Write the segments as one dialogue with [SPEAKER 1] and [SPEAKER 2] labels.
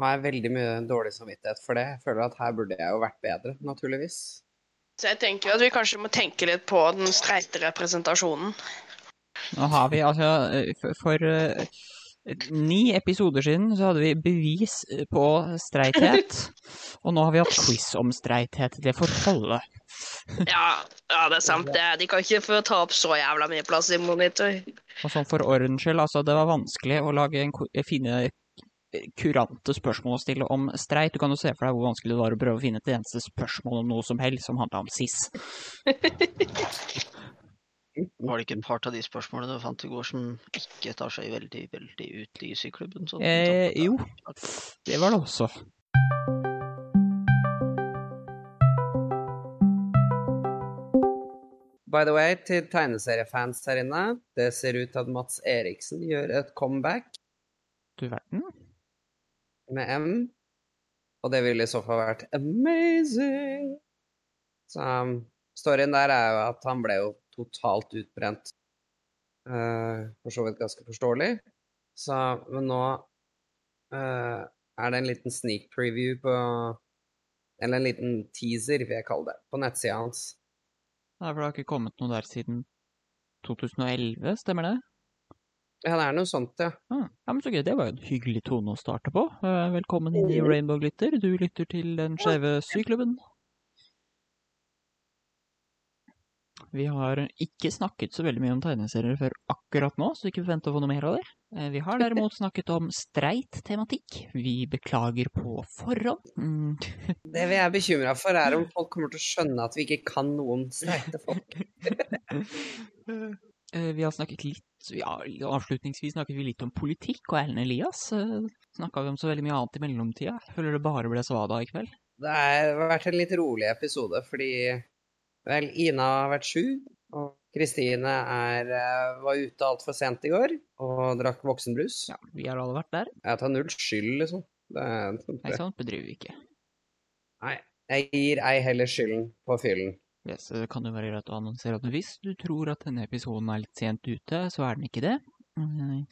[SPEAKER 1] har jeg veldig mye dårlig samvittighet for det. Jeg føler at her burde jeg jo vært bedre, naturligvis.
[SPEAKER 2] Så jeg tenker jo at vi kanskje må tenke litt på den streite representasjonen.
[SPEAKER 3] Nå har vi altså eh, For, for eh, ni episoder siden så hadde vi bevis eh, på streithet. Og nå har vi hatt quiz om streithet. Det får holde.
[SPEAKER 2] Ja, ja det er sant. Det. De kan ikke få ta opp så jævla mye plass i monitor.
[SPEAKER 3] Og sånn for ordens skyld, altså, det var vanskelig å lage en, ko- eh, finne eh, kurante spørsmål å stille om streit. Du kan jo se for deg hvor vanskelig det var å prøve å finne et eneste spørsmål om noe som helst som handla om cis.
[SPEAKER 4] Var
[SPEAKER 3] Mm.
[SPEAKER 4] det ikke et par av de spørsmålene du fant i går som ikke tar seg veldig veldig ut i syklubben? Sånn,
[SPEAKER 3] Eh,
[SPEAKER 4] sånn-
[SPEAKER 3] jo, det var det også.
[SPEAKER 1] By the way, til tegneseriefans her inne, det ser ut til at Mats Eriksen gjør et comeback
[SPEAKER 3] Du verden.
[SPEAKER 1] med M. Og det ville i så fall vært amazing. Så um, storyen der er jo at han ble jo totalt utbrent. Eh, for så vidt ganske forståelig. Så, men nå eh, er det en liten sneak preview på Eller en liten teaser, vil jeg kalle det, på nettsida hans.
[SPEAKER 3] Det er vel ikke kommet noe der siden 2011, stemmer det?
[SPEAKER 1] Ja, det er noe sånt, ja.
[SPEAKER 3] Ah, ja, men så gøy. Det var jo en hyggelig tone å starte på. Eh, Velkommen inn i Rainbow Glitter. Du lytter til Den skjeve syklubben. Vi har ikke snakket så veldig mye om tegneserier før akkurat nå, så ikke forvent å få noe mer av det. Eh, Vi har derimot snakket om streit tematikk. Vi beklager på forhånd. Mm.
[SPEAKER 1] Det vi er bekymra for, er om folk kommer til å skjønne at vi ikke kan noen streite folk.
[SPEAKER 3] Eh, Vi har snakket litt ja, Avslutningsvis snakket vi litt om politikk og Erlend Elias. Snakka vi om så veldig mye annet i mellomtida. Jeg Føler det bare ble svada i kveld.
[SPEAKER 1] Det har vært en litt rolig episode, fordi vel, Ina har vært sju, og Kristine er, eh, var ute altfor sent i går og drakk voksenbrus.
[SPEAKER 3] Ja, vi har alle vært der.
[SPEAKER 1] Jeg tar null skyld, liksom. Det,
[SPEAKER 3] Nei,
[SPEAKER 1] det,
[SPEAKER 3] sånt bedriver vi ikke.
[SPEAKER 1] jeg gir ei heller skylden på fyllen.
[SPEAKER 3] Yes, det kan jo være greit å annonsere at hvis du tror at denne episoden er litt sent ute, så er den ikke det. Mm,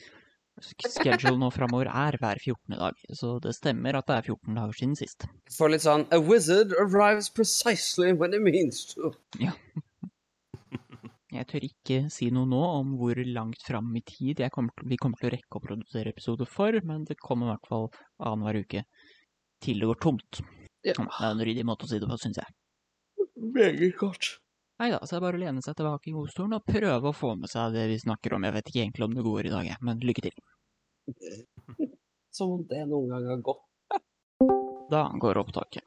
[SPEAKER 3] Schedule nå framover er hver 14. dag, så det stemmer at det er 14 dager siden sist.
[SPEAKER 1] Får litt sånn A wizard arrives precisely when it means to.
[SPEAKER 3] Jeg tør ikke si noe nå om hvor langt fram i tid jeg kommer til, vi kommer til å rekke å produsere episoder for, men det kommer i hvert fall annenhver uke til det går tomt.
[SPEAKER 4] Ja.
[SPEAKER 3] Det er en ryddig måte å si det på, syns jeg.
[SPEAKER 4] Meget godt.
[SPEAKER 3] Nei da, så er det bare å lene seg tilbake i godstolen og prøve å få med seg det vi snakker om. Jeg vet ikke egentlig om det går i dag, jeg, men lykke til.
[SPEAKER 1] Som om det noen gang har gått.
[SPEAKER 3] Da går opptaket.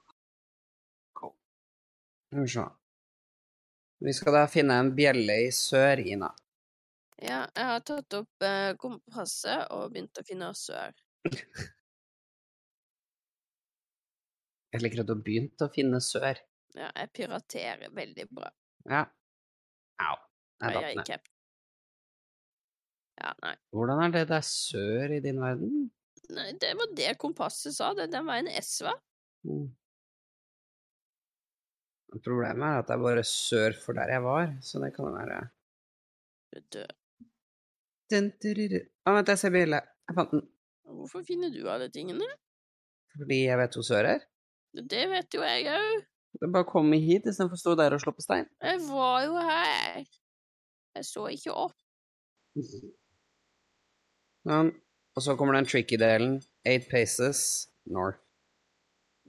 [SPEAKER 1] Skal vi se. Vi skal da finne en bjelle i sør, Ina.
[SPEAKER 5] Ja, jeg har tatt opp eh, kompasset og begynt å finne sør.
[SPEAKER 1] Jeg liker at du har begynt å finne sør.
[SPEAKER 5] Ja, jeg piraterer veldig bra.
[SPEAKER 1] Ja. Au. Jeg
[SPEAKER 5] Jeg
[SPEAKER 1] datt
[SPEAKER 5] er
[SPEAKER 1] ned.
[SPEAKER 5] ikke Ja, nei.
[SPEAKER 1] Hvordan er det det er sør i din verden?
[SPEAKER 5] nei. Det var det kompasset sa. Det er den veien S var.
[SPEAKER 1] Mm. Problemet er at det er bare sør for der jeg var, så det kan jo være
[SPEAKER 5] Du dør.
[SPEAKER 1] Dun, dururu. Å, vent, jeg ser bjelle. Jeg fant den.
[SPEAKER 5] Hvorfor finner du alle tingene?
[SPEAKER 1] Fordi jeg vet hvor sør er.
[SPEAKER 5] Det vet jo jeg òg.
[SPEAKER 1] Det er bare å komme hit istedenfor å stå der og slå på stein.
[SPEAKER 5] Jeg var jo her. Jeg så ikke opp.
[SPEAKER 1] Sånn. Og så kommer den tricky delen. Eight paces north.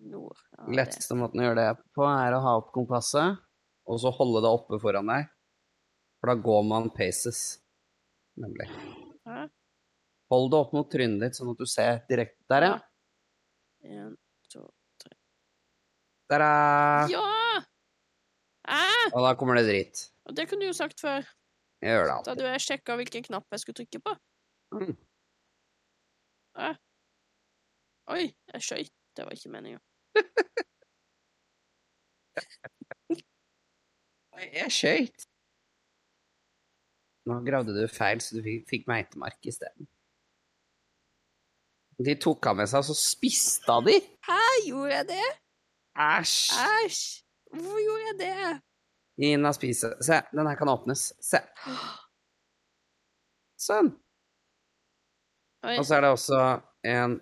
[SPEAKER 5] Nord. Ja, det-
[SPEAKER 1] Letteste måten å gjøre det på er å ha opp kompasset, og så holde det oppe foran deg. For da går man paces, nemlig.
[SPEAKER 5] Hæ?
[SPEAKER 1] Hold det opp mot trynet ditt, sånn at du ser direkte. Der, ja.
[SPEAKER 5] En, to
[SPEAKER 1] Der er
[SPEAKER 5] Ja! Æ!
[SPEAKER 1] Og da kommer det dritt.
[SPEAKER 5] Og det kunne du jo sagt før.
[SPEAKER 1] Jeg gjør det
[SPEAKER 5] Da
[SPEAKER 1] alltid.
[SPEAKER 5] hadde jeg sjekka hvilken knapp jeg skulle trykke på.
[SPEAKER 1] Mm.
[SPEAKER 5] Æ. Oi, jeg skøyt. Det var ikke meninga.
[SPEAKER 1] Oi, Jeg skøyt. Nå gravde du feil, så du fikk- fikk meitemark isteden. De tok av med seg, og så spiste av de.
[SPEAKER 5] Hæ, gjorde jeg det?
[SPEAKER 1] Æsj!
[SPEAKER 5] Æsj! Hvorfor gjorde jeg det?
[SPEAKER 1] Ina spiser. Se, den her kan åpnes. Se. Sånn.
[SPEAKER 5] Oi,
[SPEAKER 1] Altså, Og så er det også en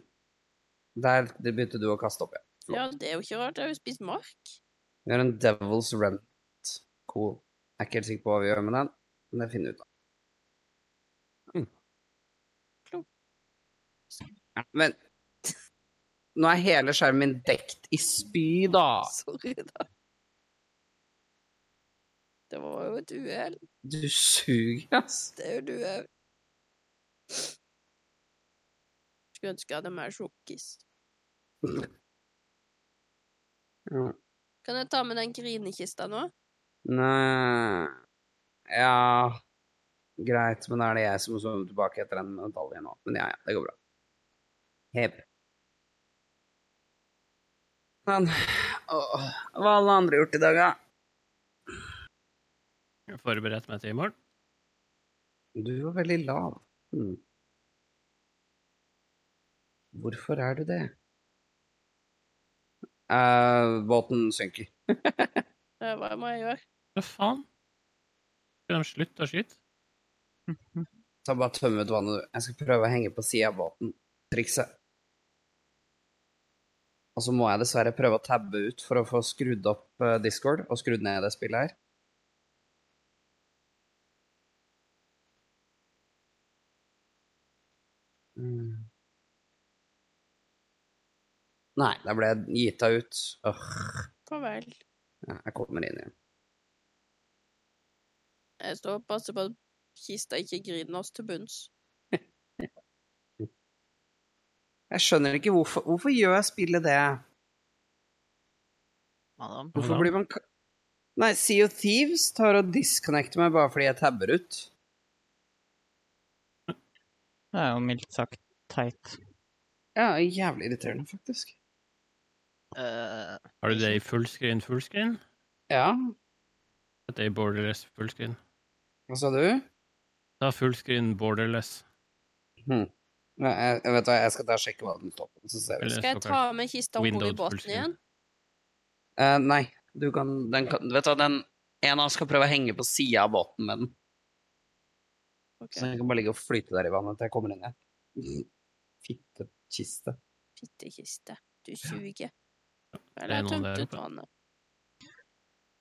[SPEAKER 1] Der begynte du å kaste opp, ja.
[SPEAKER 5] Ja, det er jo ikke rart. Jeg har jo spist mark.
[SPEAKER 1] Vi har en Devil's Remnant. Cool. Jeg er ikke helt sikker på hva vi gjør med den, men det finner vi ut av. Hmm.
[SPEAKER 5] Klok.
[SPEAKER 1] Ja, Hmm. men nå er hele skjermen min dekt i spy, da.
[SPEAKER 5] Sorry, da. Det var jo et uhell.
[SPEAKER 1] Du suger, ass.
[SPEAKER 5] Det er jo et uhell. Skulle ønske jeg hadde mer sjokkis.
[SPEAKER 1] Ja.
[SPEAKER 5] Kan jeg ta med den grinekista nå?
[SPEAKER 1] Nei Ja Greit, men da er det jeg som må svømme tilbake etter den medaljen nå. Men ja, ja, det går bra. Hev. Sånn. Åh, hva har alle andre gjort i dag, da?
[SPEAKER 6] Jeg har forberedt meg til i morgen.
[SPEAKER 1] Du var veldig lav. Hmm. Hvorfor er du det? Eh, båten synker.
[SPEAKER 5] Eh, Hva må jeg gjøre?
[SPEAKER 6] Hva faen? Skal de slutte å skyte?
[SPEAKER 1] Ta bare tømme ut vannet, du. Jeg skal prøve å henge på sida av båten. Trikset. Og så må jeg dessverre prøve å tabbe ut for å få skrudd opp eh, Discord og skrudd ned det spillet her. Mm. Nei, da ble jeg gita ut. Åh,
[SPEAKER 5] Farvel.
[SPEAKER 1] ja, jeg kommer inn igjen.
[SPEAKER 5] Jeg står og passer på at kista ikke griner oss til bunns.
[SPEAKER 1] Jeg skjønner ikke hvorfor, hvorfor gjør jeg spillet det?
[SPEAKER 4] Madam.
[SPEAKER 1] Hvorfor blir man ka- Nei, Sea of Thieves tar og disconnecter meg bare fordi jeg tabber ut.
[SPEAKER 3] Det er jo mildt sagt teit.
[SPEAKER 1] Ja, jævlig irriterende, faktisk.
[SPEAKER 4] Eh,
[SPEAKER 6] Har du det i fullscreen, fullscreen?
[SPEAKER 1] Ja,
[SPEAKER 6] Dette er i borderless fullscreen.
[SPEAKER 1] hva sa du?
[SPEAKER 6] Ta fullscreen borderless.
[SPEAKER 1] Nei, jeg, jeg vet hva, jeg skal ta og sjekke hva den står på, så ser vi.
[SPEAKER 6] Eller
[SPEAKER 5] Skal jeg
[SPEAKER 6] såkalt
[SPEAKER 5] ta med kista om bord i
[SPEAKER 6] Windows
[SPEAKER 5] båten
[SPEAKER 6] fullscreen.
[SPEAKER 5] igjen?
[SPEAKER 1] Eh, nei, du kan, den kan Vet du hva, den En av oss skal prøve å henge på sida av båten med den.
[SPEAKER 5] Ok.
[SPEAKER 1] Så den kan bare ligge og flyte der i vannet til jeg kommer inn igjen. Fittekiste.
[SPEAKER 5] Fittekiste. Du suger. Vel,
[SPEAKER 6] Det er
[SPEAKER 5] jeg
[SPEAKER 6] noen
[SPEAKER 5] tømte
[SPEAKER 6] der
[SPEAKER 5] ut
[SPEAKER 6] oppe.
[SPEAKER 5] vannet.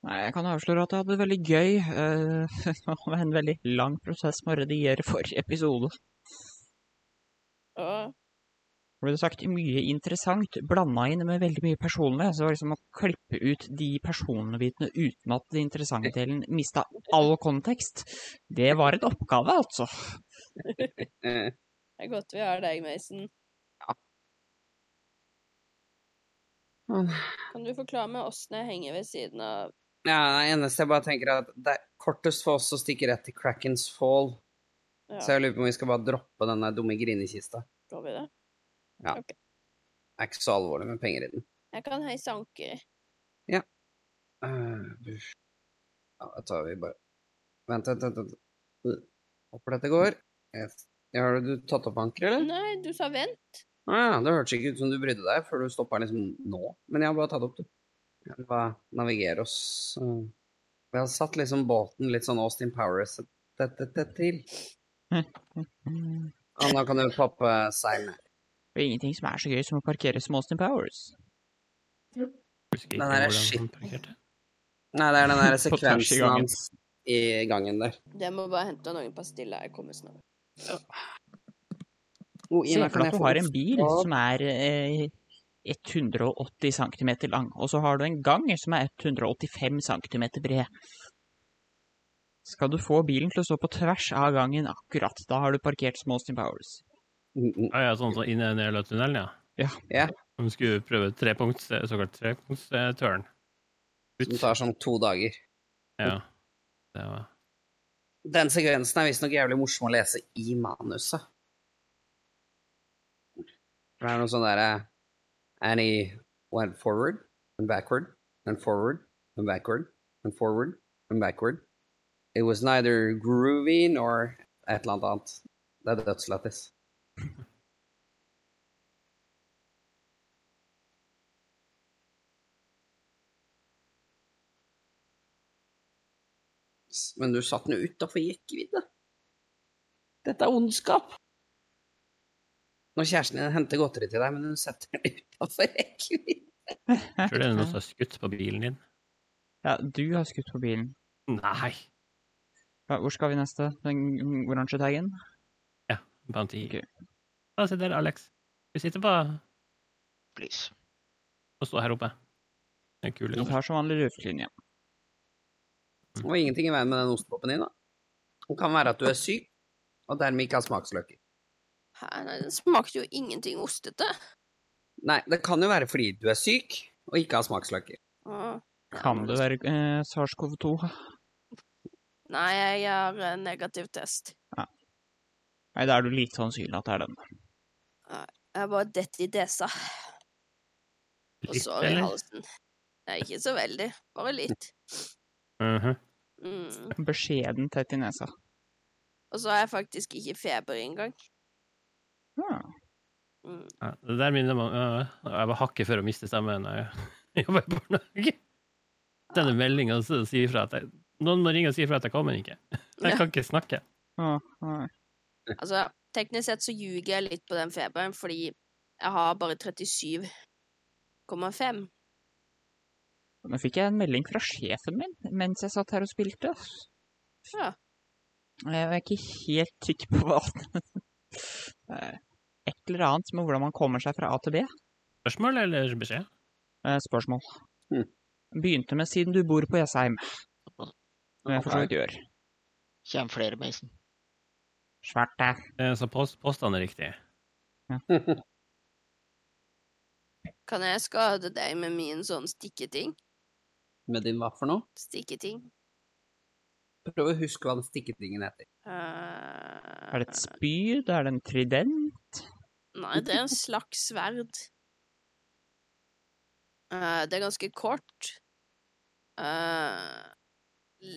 [SPEAKER 3] Nei, jeg kan avsløre at jeg hadde det veldig gøy. eh, Det var en veldig lang prosess med å redigere forrige episode.
[SPEAKER 5] Å,
[SPEAKER 3] Det ble sagt mye interessant, blanda inn med veldig mye personlig. Så det var liksom å klippe ut de personbitene uten at den interessante delen mista all kontekst. Det var en oppgave, altså.
[SPEAKER 1] Eh,
[SPEAKER 5] det er godt vi har deg, Mason.
[SPEAKER 1] men-
[SPEAKER 5] Kan du forklare meg åssen jeg henger ved siden av
[SPEAKER 1] ja, det eneste jeg bare tenker, er at det er kortest for oss å stikke rett til Crackens Fall.
[SPEAKER 5] Ja,
[SPEAKER 1] Så jeg lurer på om vi skal bare droppe denne dumme grinekista.
[SPEAKER 5] forstår vi det?
[SPEAKER 1] Det er ikke så alvorlig med penger i den.
[SPEAKER 5] Jeg kan heise anker.
[SPEAKER 1] Eh, buff. ja, da tar vi bare Vent, vent, vent. vent. Uh, Håper dette går. Yes. Ja, har du tatt opp ankeret, eller?
[SPEAKER 5] Nei, du sa vent.
[SPEAKER 1] Å ja, det hørtes ikke ut som du brydde deg før du stoppa liksom nå. Men jeg har bare tatt opp, du. Jeg vil bare navigere oss. eh. Vi har satt liksom båten litt sånn Austin Powers dette til.
[SPEAKER 3] Mm.
[SPEAKER 1] Ja, nå kan du pappe seilet.
[SPEAKER 3] Det er ingenting som er så gøy som å parkere som Austin Powers.
[SPEAKER 6] Husker ikke
[SPEAKER 1] Den her er
[SPEAKER 6] hvordan
[SPEAKER 1] skitten.
[SPEAKER 6] han parkerte.
[SPEAKER 1] Nei, det er den der
[SPEAKER 3] På tvers i
[SPEAKER 1] sekvensen
[SPEAKER 3] gangen.
[SPEAKER 1] hans i gangen der.
[SPEAKER 5] Jeg må bare hente noen pastiller. Jeg kommer snart.
[SPEAKER 1] Oh,
[SPEAKER 3] Se
[SPEAKER 1] Ina,
[SPEAKER 3] for
[SPEAKER 1] kan
[SPEAKER 3] deg at
[SPEAKER 1] jeg
[SPEAKER 3] du
[SPEAKER 1] få
[SPEAKER 3] har
[SPEAKER 1] litt
[SPEAKER 3] en bil
[SPEAKER 1] svar?
[SPEAKER 3] som er eh, 180 cm lang, og så har du en gang som er 185 cm bred. Skal du få bilen til å stå på tvers av gangen akkurat, da har du parkert som Austin Powers.
[SPEAKER 1] Mm, mm.
[SPEAKER 6] Ah, ja, sånn som inn i den jævla tunnelen, ja.
[SPEAKER 3] Ja.
[SPEAKER 1] Ja.
[SPEAKER 6] De skulle prøve trepunkts, såkalt trepunktstørn.
[SPEAKER 1] Det tar sånn to dager.
[SPEAKER 6] Ja. Det var
[SPEAKER 1] Den sekvensen er visstnok jævlig morsom å lese i manuset. For det er noe sånn derre And he went forward and backward and forward and backward and forward and backward. It was neither groovy nor et eller annet annet. Det er dødslættis. Men du satt nå utafor rekkevidde. Dette er ondskap. Når kjæresten din henter godteri til deg, men hun setter det utafor rekkevidde.
[SPEAKER 6] Tror du det er noen som har skutt på bilen din?
[SPEAKER 3] Ja, du har skutt på bilen.
[SPEAKER 6] Nei.
[SPEAKER 3] Ja, hvor skal vi neste? Den oransje taggen?
[SPEAKER 6] Bounty.
[SPEAKER 3] Ok.
[SPEAKER 6] Ja, se der, Alex. Du sitter på
[SPEAKER 4] Please.
[SPEAKER 6] å stå her oppe. Det er kul.
[SPEAKER 3] Vi tar som vanlig luftlinje.
[SPEAKER 1] Og ingenting i veien med den ostepopen din, da. Det kan være at du er syk, og dermed ikke har smaksløker.
[SPEAKER 5] Hæ, nei, den smakte jo ingenting ostete.
[SPEAKER 1] Nei, det kan jo være fordi du er syk og ikke har smaksløker.
[SPEAKER 5] Åh.
[SPEAKER 3] Kan det være eh, SARS-CoV-2?
[SPEAKER 5] Nei, jeg har eh, negativ test.
[SPEAKER 3] Nei, da er det jo lite sannsynlig at det er den.
[SPEAKER 5] Jeg bare detter i desa, og
[SPEAKER 6] Litt,
[SPEAKER 5] sår i
[SPEAKER 6] eller?
[SPEAKER 5] halsen. Nei, ikke så veldig. Bare litt.
[SPEAKER 6] Mhm.
[SPEAKER 5] Mm.
[SPEAKER 3] Beskjeden tett i nesa.
[SPEAKER 5] Og så har jeg faktisk ikke feber engang.
[SPEAKER 3] Ja.
[SPEAKER 5] Mm.
[SPEAKER 6] ja, det der minner meg om øh, Jeg var hakket før å miste stemmen da jeg jobba i barnehage. Denne meldinga sier ifra at jeg, noen må ringe og si ifra at jeg kommer ikke. Jeg kan ikke snakke.
[SPEAKER 3] Å, nei.
[SPEAKER 5] Altså, teknisk sett så ljuger jeg litt på den feberen, fordi jeg har bare 37,5.
[SPEAKER 3] Nå fikk jeg en melding fra sjefen min mens jeg satt her og spilte. Eh,
[SPEAKER 5] Ja.
[SPEAKER 3] Jeg er ikke helt trygg på hva Eh, Et eller annet med hvordan man kommer seg fra A til B.
[SPEAKER 6] Spørsmål eller beskjed?
[SPEAKER 3] Eh, Spørsmål.
[SPEAKER 1] Mm.
[SPEAKER 3] Begynte med 'siden du bor på Jessheim', som jeg for så vidt gjør.
[SPEAKER 4] Kjem flere, Mason.
[SPEAKER 3] Svært, det.
[SPEAKER 6] Eh, Så post, påstanden er riktig.
[SPEAKER 5] Kan jeg skade deg med min sånn stikketing?
[SPEAKER 1] Med din hva for noe?
[SPEAKER 5] Stikketing?
[SPEAKER 1] Prøv å huske hva den stikketingen heter.
[SPEAKER 5] Eh,
[SPEAKER 3] Er det et spyd? Er det en trident?
[SPEAKER 5] Nei, det er en slags sverd. Eh, det er ganske kort. Eh,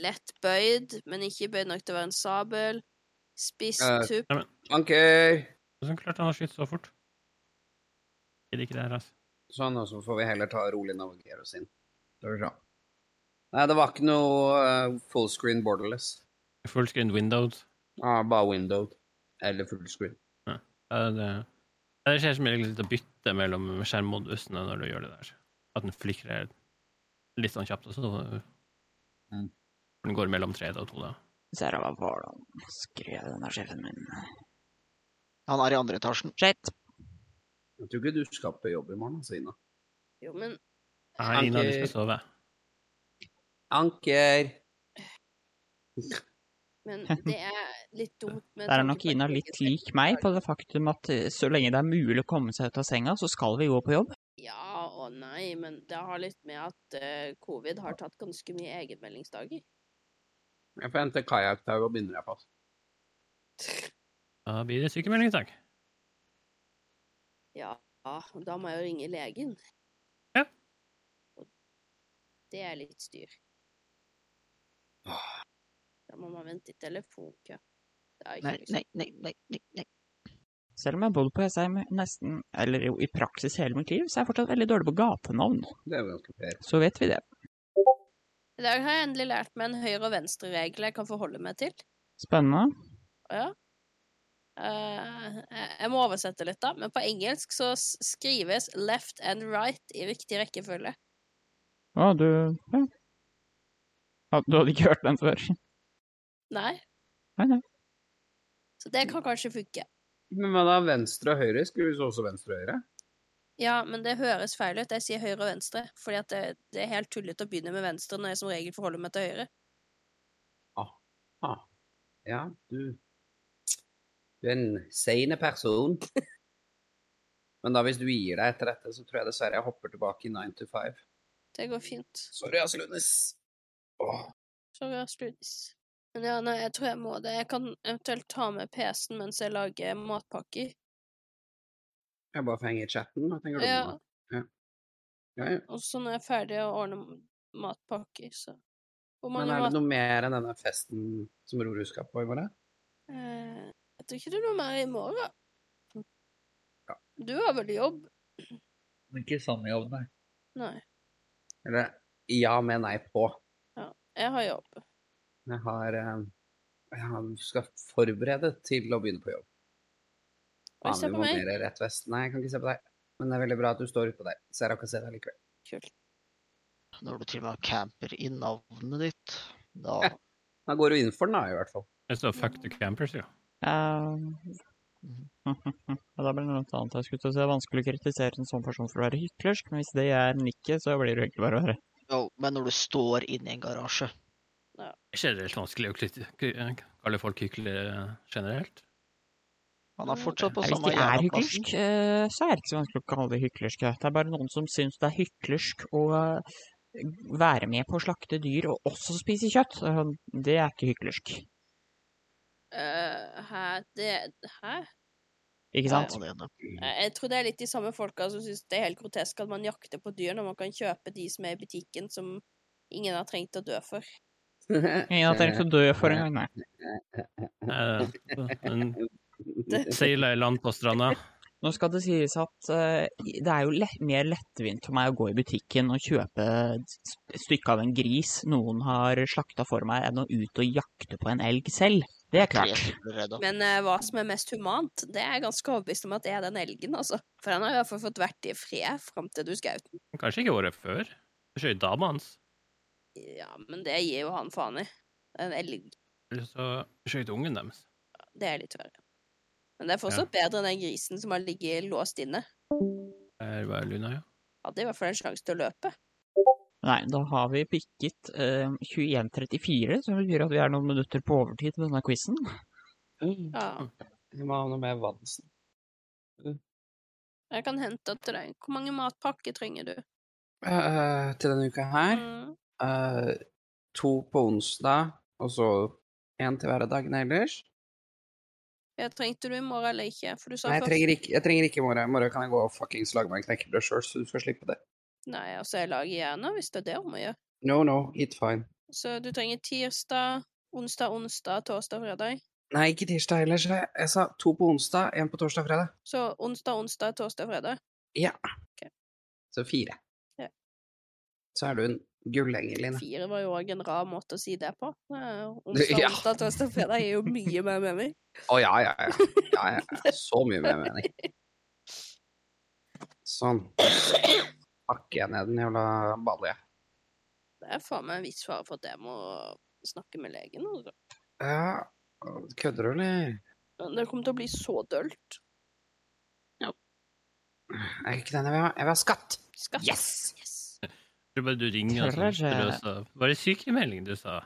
[SPEAKER 5] lett bøyd, men ikke bøyd nok til å være en sabel. Spiss
[SPEAKER 1] Eh,
[SPEAKER 5] tupp.
[SPEAKER 1] Anker!
[SPEAKER 6] Hvordan klarte han å skyte så fort? Er det ikke det her, altså?
[SPEAKER 1] Sånn, og så får vi heller ta rolig navigere oss inn. Skal vi se. Nei, det var ikke noe eh, fullscreen borderless.
[SPEAKER 6] Fullscreen windows.
[SPEAKER 1] Ah, bare windowed. Eller fullscreen.
[SPEAKER 6] Ja, det, ja, det skjer som regel litt å bytte mellom skjermmodusene når du gjør det der. At den flikrer litt sånn kjapt, og så
[SPEAKER 1] Mm.
[SPEAKER 6] den går mellom 3D og 2D.
[SPEAKER 3] Sara, hva var det han skrev, denne sjefen min?
[SPEAKER 4] Han er i andre etasjen.
[SPEAKER 3] Shit!
[SPEAKER 1] Jeg tror ikke du skal på jobb i morgen, altså, Ina.
[SPEAKER 5] Jo, men
[SPEAKER 6] Nei, Ina, du skal sove.
[SPEAKER 1] Anker!
[SPEAKER 5] Men det er litt dumt med
[SPEAKER 3] Der er
[SPEAKER 5] tanke
[SPEAKER 3] nok
[SPEAKER 5] på at
[SPEAKER 3] Ina
[SPEAKER 5] jeg
[SPEAKER 3] litt
[SPEAKER 5] ikke
[SPEAKER 3] lik meg på det faktum at eh, så lenge det er mulig å komme seg ut av senga, så skal vi gå på jobb.
[SPEAKER 5] Ja og nei, men det har litt med at eh, covid har tatt ganske mye egenmeldingsdager.
[SPEAKER 1] Jeg får hente kajakktau og binder deg fast.
[SPEAKER 6] Da blir det sykemelding i dag.
[SPEAKER 5] Ja, og da må jeg jo ringe legen.
[SPEAKER 6] Ja.
[SPEAKER 5] Og det er litt styr. Da må man vente i telefonkø. Det har jeg
[SPEAKER 4] Nei,
[SPEAKER 5] ikke lyst til.
[SPEAKER 4] nei, nei, nei, nei, nei.
[SPEAKER 3] Selv om jeg har bodd på Jessheim nesten, eller jo i praksis hele mitt liv, så er jeg fortsatt veldig dårlig på gatenavn.
[SPEAKER 1] Det er jo ganske fair.
[SPEAKER 3] Så vet vi det.
[SPEAKER 5] I dag har jeg endelig lært meg en høyre- og venstre-regel jeg kan forholde meg til.
[SPEAKER 3] Spennende.
[SPEAKER 5] Ja. Eh, jeg- jeg må oversette litt, da. Men på engelsk så s- skrives left and right i riktig rekkefølge.
[SPEAKER 3] Å, du ja. ja. Du hadde ikke hørt den før?
[SPEAKER 5] Nei.
[SPEAKER 3] Nei, nei.
[SPEAKER 5] Så det kan kanskje funke.
[SPEAKER 1] Men hva da? Venstre og høyre? Skulle vi så også venstre og høyre?
[SPEAKER 5] Ja, men det høres feil ut. Jeg sier høyre og venstre. Fordi at det, det er helt tullete å begynne med venstre når jeg som regel forholder meg til høyre.
[SPEAKER 1] Ah. Ja, du Du er en sane person. Men da hvis du gir deg etter dette, så tror jeg dessverre jeg hopper tilbake i 9 to 5.
[SPEAKER 5] Det går fint.
[SPEAKER 1] Sorry, ass, Lunes. Åh.
[SPEAKER 5] Så vi har studies. Men ja, nei, jeg tror jeg må det. Jeg kan eventuelt ta med PC-en mens jeg lager matpakker.
[SPEAKER 1] Jeg bare får henge i chatten. Hva tenker du
[SPEAKER 5] Ja,
[SPEAKER 1] om det? Ja, ja.
[SPEAKER 5] og så når jeg er ferdig å ordne m- matpakker, så Hvor
[SPEAKER 1] Men
[SPEAKER 5] mange
[SPEAKER 1] er det
[SPEAKER 5] mat...
[SPEAKER 1] noe mer enn denne festen som Ror skal på i morgen?
[SPEAKER 5] Eh, jeg tror ikke det er noe mer i morgen.
[SPEAKER 1] Ja.
[SPEAKER 5] Du har vel jobb?
[SPEAKER 1] Ikke sånn jobb, nei.
[SPEAKER 5] Nei.
[SPEAKER 1] Eller ja med nei på.
[SPEAKER 5] Jeg har jobb.
[SPEAKER 1] Jeg har eh, Jeg har- skal forberede til å begynne på jobb.
[SPEAKER 5] Oi,
[SPEAKER 1] Faen,
[SPEAKER 5] se
[SPEAKER 1] vi
[SPEAKER 5] på meg.
[SPEAKER 1] monterer rett vest. Nei, jeg kan ikke se på deg. Men det er veldig bra at du står ute på der. Så jeg rakk å se deg likevel.
[SPEAKER 4] Når du til og med camper i navnet ditt, da
[SPEAKER 1] Da går du inn for den, da, i hvert fall.
[SPEAKER 6] Det står 'fuck the campers', jo.
[SPEAKER 3] Ehm, ja, da blir det noe annet jeg skulle til å si. Det er vanskelig å kritisere en sånn person for å være hyklersk, men hvis det er nikket, så blir det jo egentlig bare å høre.
[SPEAKER 4] Jo, men når du står inne i en garasje
[SPEAKER 6] Det er Generelt vanskelig å kli- kli- kalle folk hyklere generelt.
[SPEAKER 4] Han er fortsatt på
[SPEAKER 3] Nei, Hvis
[SPEAKER 4] samme
[SPEAKER 3] de er
[SPEAKER 4] jævla
[SPEAKER 3] hyklersk, eh, så er det ikke så vanskelig å kalle det hyklersk. ja. Det er bare noen som syns det er hyklersk å eh, være med på å slakte dyr og også spise kjøtt. Eh, Det er ikke hyklersk,
[SPEAKER 5] Eh, hæ? Det Hæ?
[SPEAKER 3] ikke
[SPEAKER 4] plassen.
[SPEAKER 3] sant?
[SPEAKER 4] Ja, det er det.
[SPEAKER 5] Eh, Jeg tror det er litt de samme folka som syns det er helt grotesk at man jakter på dyr når man kan kjøpe de som er i butikken som ingen har trengt å dø for.
[SPEAKER 1] altså,
[SPEAKER 3] Ingen har tenkt å dø for en gang, nei.
[SPEAKER 6] Eh, Den seiler i land på stranda.
[SPEAKER 3] Nå skal det sies at eh, det er jo lett, mer lettvint for meg å gå i butikken og kjøpe et stykke av en gris noen har slakta for meg, enn å ut og jakte på en elg selv. Det er
[SPEAKER 4] Tre
[SPEAKER 3] klart.
[SPEAKER 4] stykker redda.
[SPEAKER 5] Men eh, hva som er mest humant, det er jeg ganske overbevist om at det er den elgen, altså. For den har i hvert fall fått vært i fred fram til du skjøt den.
[SPEAKER 6] Kanskje ikke året før. Du skjøt dama hans.
[SPEAKER 5] Ja, men det gir jo han faen i. En elg,
[SPEAKER 6] Eller så skjøt ungen deres.
[SPEAKER 5] det er litt verre. Men det er fortsatt bedre enn den grisen som har ligget låst inne.
[SPEAKER 6] Der var Luna, ja.
[SPEAKER 5] Hadde i hvert fall en sjanse til å løpe.
[SPEAKER 3] Nei, da har vi pikket eh, 21.34, som betyr at vi er noen minutter på overtid med denne quizen.
[SPEAKER 5] Ja,
[SPEAKER 1] Mm. Vi må ha noe med Vansen.
[SPEAKER 5] jeg kan hente til deg. Hvor mange matpakker trenger du?
[SPEAKER 1] Eh, til denne uka her
[SPEAKER 5] Mm.
[SPEAKER 1] eh, To på onsdag, og så én til hverdagen ellers.
[SPEAKER 5] Ja, trengte du i morgen eller ikke? For du sa
[SPEAKER 1] Nei, jeg
[SPEAKER 5] først
[SPEAKER 1] trenger ikke, jeg trenger ikke i morgen. I morgen kan jeg gå og fuckings lage meg knekkebrød sjøl, så du skal slippe det.
[SPEAKER 5] Nei, altså, jeg lager gjerne hvis det er det om å gjøre.
[SPEAKER 1] No, no, it's fine.
[SPEAKER 5] Så du trenger tirsdag, onsdag, onsdag, torsdag, fredag.
[SPEAKER 1] Nei, ikke tirsdag heller, så jeg, jeg sa to på onsdag, én på torsdag og fredag.
[SPEAKER 5] Så onsdag, onsdag, torsdag, fredag.
[SPEAKER 1] Så fire.
[SPEAKER 5] Ja.
[SPEAKER 1] Så er du en gullenger, Line.
[SPEAKER 5] Fire var jo òg en rar måte å si det på. Eh,
[SPEAKER 1] Det-
[SPEAKER 5] Onsdag,
[SPEAKER 1] ja.
[SPEAKER 5] onsdag, torsdag, fredag er jo mye mer mening.
[SPEAKER 1] Å ja, ja, ja. ja, ja, ja. Så mye mer mening. Sånn. Pakker jeg ned den jævla ballet.
[SPEAKER 5] Det er faen meg en viss fare for at jeg må snakke med legen. Altså.
[SPEAKER 1] Ja, kødder du, eller?
[SPEAKER 5] Men Det kommer til å bli så dølt.
[SPEAKER 1] Er ikke den jeg vil ha? Jeg vil ha skatt!
[SPEAKER 5] Skatt.
[SPEAKER 1] Yes!
[SPEAKER 5] yes.
[SPEAKER 6] Jeg tror bare du ringer og sånn
[SPEAKER 3] Tørre.
[SPEAKER 6] strøs av. Var det sykemelding du sa?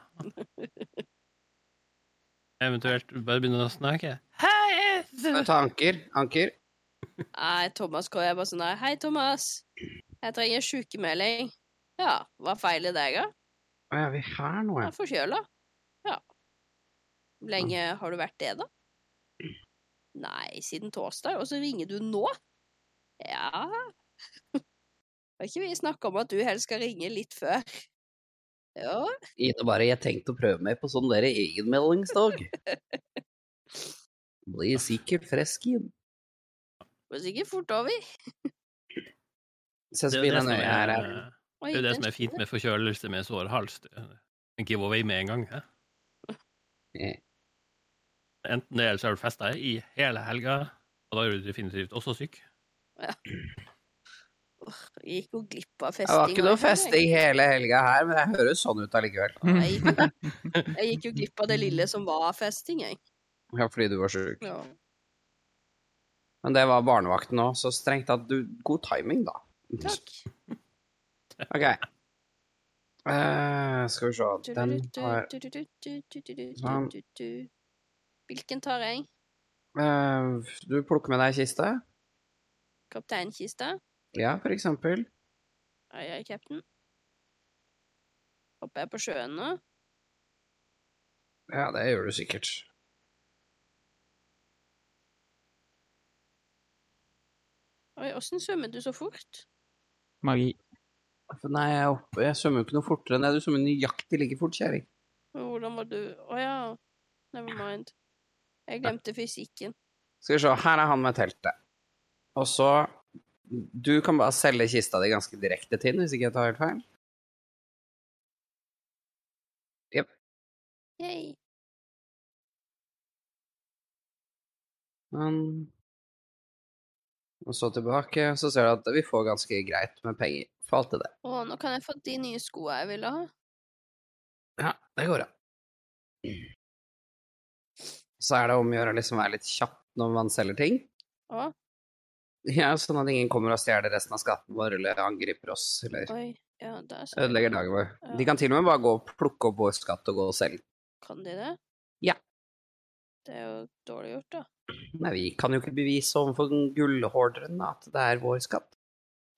[SPEAKER 6] Eventuelt bare begynne å snakke. Hei!
[SPEAKER 1] Skal vi ta Anker? Anker?
[SPEAKER 5] Nei, Thomas K. Jeg bare sånn der, Hei, Thomas. Jeg trenger sykemelding. Ja, hva feiler deg, da?
[SPEAKER 1] Å, er vi her nå, ja?
[SPEAKER 5] Jeg er forkjøla. Ja. Hvor lenge har du vært det, da? Nei, siden torsdag. Og så ringer du nå? Ja Har ikke vi snakka om at du helst skal ringe litt før? Jo.
[SPEAKER 1] Ine bare, jeg tenkte å prøve meg på sånn der egenmeldingsdag. Blir sikkert frisk igjen.
[SPEAKER 5] Går sikkert fort over.
[SPEAKER 1] Se så
[SPEAKER 6] Det er jo
[SPEAKER 1] fin
[SPEAKER 6] det
[SPEAKER 1] den
[SPEAKER 6] som
[SPEAKER 1] øya her
[SPEAKER 6] er,
[SPEAKER 1] er. eh,
[SPEAKER 5] Oi,
[SPEAKER 6] det er jo det
[SPEAKER 5] den
[SPEAKER 6] som er fint med forkjølelse med sår hals. Det er En giveaway med en gang. hæ?
[SPEAKER 1] Eh,
[SPEAKER 6] Enten det, eller så har du festa i hele helga, og da er du definitivt også syk.
[SPEAKER 5] Gikk jo glipp av
[SPEAKER 1] Det
[SPEAKER 5] festing.
[SPEAKER 1] eh, var ikke noe
[SPEAKER 5] og alt, jeg.
[SPEAKER 1] festing hele helga her, men det høres sånn ut allikevel.
[SPEAKER 5] Jeg gikk, jeg gikk jo glipp av det lille som var festing, jeg.
[SPEAKER 1] Ja, fordi du var sjuk.
[SPEAKER 5] Ja.
[SPEAKER 1] Men det var barnevakten òg, så strengt tatt du God timing, da.
[SPEAKER 5] Takk.
[SPEAKER 1] OK. Eh, skal vi se Den har Sånn.
[SPEAKER 5] Hvilken tar jeg?
[SPEAKER 1] eh, Du plukker med deg kiste?
[SPEAKER 5] Kapteinkista?
[SPEAKER 1] Ja, for eksempel.
[SPEAKER 5] Ai, ai, cap'n. Hopper jeg på sjøen nå?
[SPEAKER 1] Ja, det gjør du sikkert.
[SPEAKER 5] Oi, åssen svømmer du så fort?
[SPEAKER 3] Magi.
[SPEAKER 1] Nei, jeg, er oppe. jeg svømmer jo ikke noe fortere enn deg. Du svømmer nøyaktig like fort, kjerring.
[SPEAKER 5] Og Hvordan var du Å ja, never mind. Jeg glemte fysikken.
[SPEAKER 1] Skal vi se, her er han med teltet. Og så Du kan bare selge kista di ganske direkte til den, hvis ikke jeg tar helt feil.
[SPEAKER 5] Yay.
[SPEAKER 1] Men Og så tilbake, så ser du at vi får ganske greit med penger for alt det der.
[SPEAKER 5] Å, nå kan jeg få de nye skoene jeg ville ha.
[SPEAKER 1] Ja, det går bra. Så er det om å gjøre å liksom være litt kjapp når man selger ting.
[SPEAKER 5] Å.
[SPEAKER 1] Ja, sånn at ingen kommer og stjeler resten av skatten vår, eller angriper oss, eller
[SPEAKER 5] Oi, ja, der sa jeg.
[SPEAKER 1] ødelegger dagen vår.
[SPEAKER 5] Ja.
[SPEAKER 1] De kan til og med bare gå og plukke opp vår skatt og gå og selge.
[SPEAKER 5] Kan de det?
[SPEAKER 1] Ja.
[SPEAKER 5] Det er jo dårlig gjort, da.
[SPEAKER 1] Nei, vi kan jo ikke bevise overfor den gullhorderen at det er vår skatt.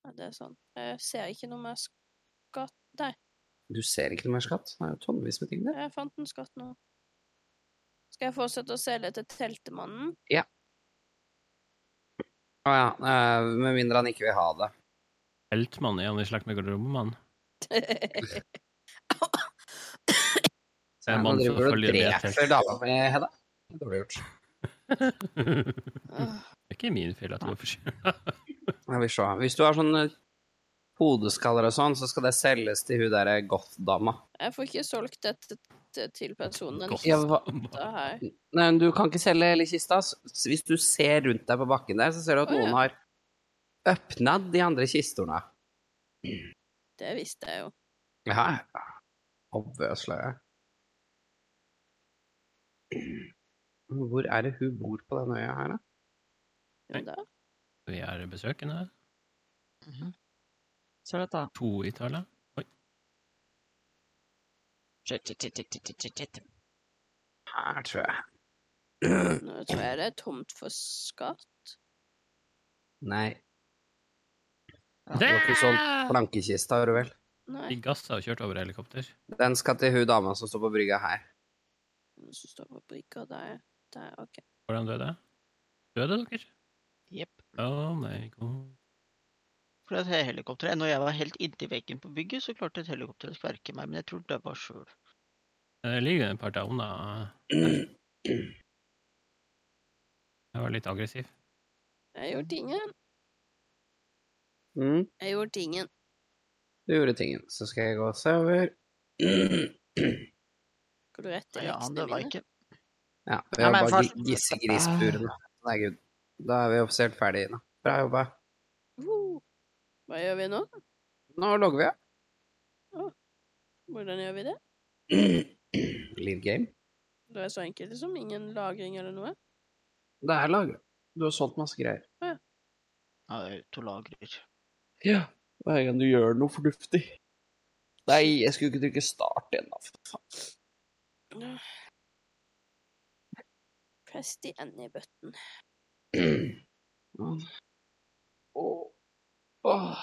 [SPEAKER 5] Ja, det er sånn. Jeg ser ikke noe mer skatt.
[SPEAKER 1] Du ser ikke noe mer skatt. Det er jo tonnevis med ting der.
[SPEAKER 5] Jeg fant en skatt nå. Skal jeg fortsette å selge til Teltemannen?
[SPEAKER 1] Å ja, eh, med mindre han ikke vil ha det.
[SPEAKER 6] Heltmann er han i slekt med garderobemann. Det er en
[SPEAKER 1] Nå
[SPEAKER 6] mann som
[SPEAKER 1] driver du og
[SPEAKER 6] følger med til.
[SPEAKER 1] dreper dama mi, Hedda. Det er Dårlig gjort.
[SPEAKER 6] det
[SPEAKER 5] Åh,
[SPEAKER 6] er ikke min feil at du var forsiktig.
[SPEAKER 1] Jeg vil se. Hvis du har sånne hodeskaller og sånn, så skal det selges til hun derre goth-dama.
[SPEAKER 5] Jeg får ikke solgt dette t- til personen.
[SPEAKER 6] Godt.
[SPEAKER 1] Ja, hva-
[SPEAKER 5] Da her.
[SPEAKER 1] Nei, men du kan ikke selge hele kista. S- Hvis du ser rundt deg på bakken der, så ser du at
[SPEAKER 5] Å, ja.
[SPEAKER 1] noen har øppnad de andre kistene.
[SPEAKER 5] Det visste jeg jo.
[SPEAKER 1] Ja, obviously. Hvor er det hun bor på denne øya her, da?
[SPEAKER 5] Jo da.
[SPEAKER 6] Vi er besøkende.
[SPEAKER 3] Så er det da
[SPEAKER 6] To i tallet.
[SPEAKER 3] shit, shit, shit, shit, shit, shit, shit.
[SPEAKER 1] Her, tror jeg.
[SPEAKER 5] Nå tror jeg det er tomt for skatt.
[SPEAKER 1] Nei,
[SPEAKER 6] Det
[SPEAKER 1] var ikke plankekista, har du vel?
[SPEAKER 5] Nei,
[SPEAKER 6] De gassa og kjørte over helikopter.
[SPEAKER 1] Den skal til hun dama som står på brygga her.
[SPEAKER 5] den som står på brygga der. Der, ok.
[SPEAKER 6] Hvordan døde? Døde dere?
[SPEAKER 4] Jepp.
[SPEAKER 6] Å nei, god.
[SPEAKER 4] For det er helikopteret. Når jeg var helt inntil veggen på bygget, så klarte et helikopter å skverke meg, men jeg tror det var sjøl.
[SPEAKER 6] Det ligger et par dager unna. Jeg var litt aggressiv.
[SPEAKER 5] Jeg gjorde tingen.
[SPEAKER 1] Mm.
[SPEAKER 5] Jeg gjorde tingen.
[SPEAKER 1] Du gjorde tingen. Så skal jeg gå og se over.
[SPEAKER 5] Skal du rette
[SPEAKER 4] Ja, han
[SPEAKER 5] leksene
[SPEAKER 4] døde
[SPEAKER 5] mine?
[SPEAKER 4] ikke.
[SPEAKER 1] Ja, vi
[SPEAKER 3] Nei,
[SPEAKER 1] har
[SPEAKER 3] men
[SPEAKER 1] bare
[SPEAKER 3] først-
[SPEAKER 1] gi- gissegrisburen. da. Nei, gud. Da er vi offisielt ferdige. Da. Bra jobba.
[SPEAKER 5] Woo! Hva gjør vi nå?
[SPEAKER 1] Nå logger vi av.
[SPEAKER 5] Hvordan gjør vi det?
[SPEAKER 1] Live game.
[SPEAKER 5] Det er så enkelt som ingen lagring eller noe.
[SPEAKER 1] Det er lagra. Du har solgt masse greier.
[SPEAKER 4] Ja, Autolagrer.
[SPEAKER 1] Ja. Hver gang du gjør noe fornuftig. Nei, jeg skulle ikke trykke start igjen, da. for faen.
[SPEAKER 5] Press the any-button.
[SPEAKER 1] Åh. Åh.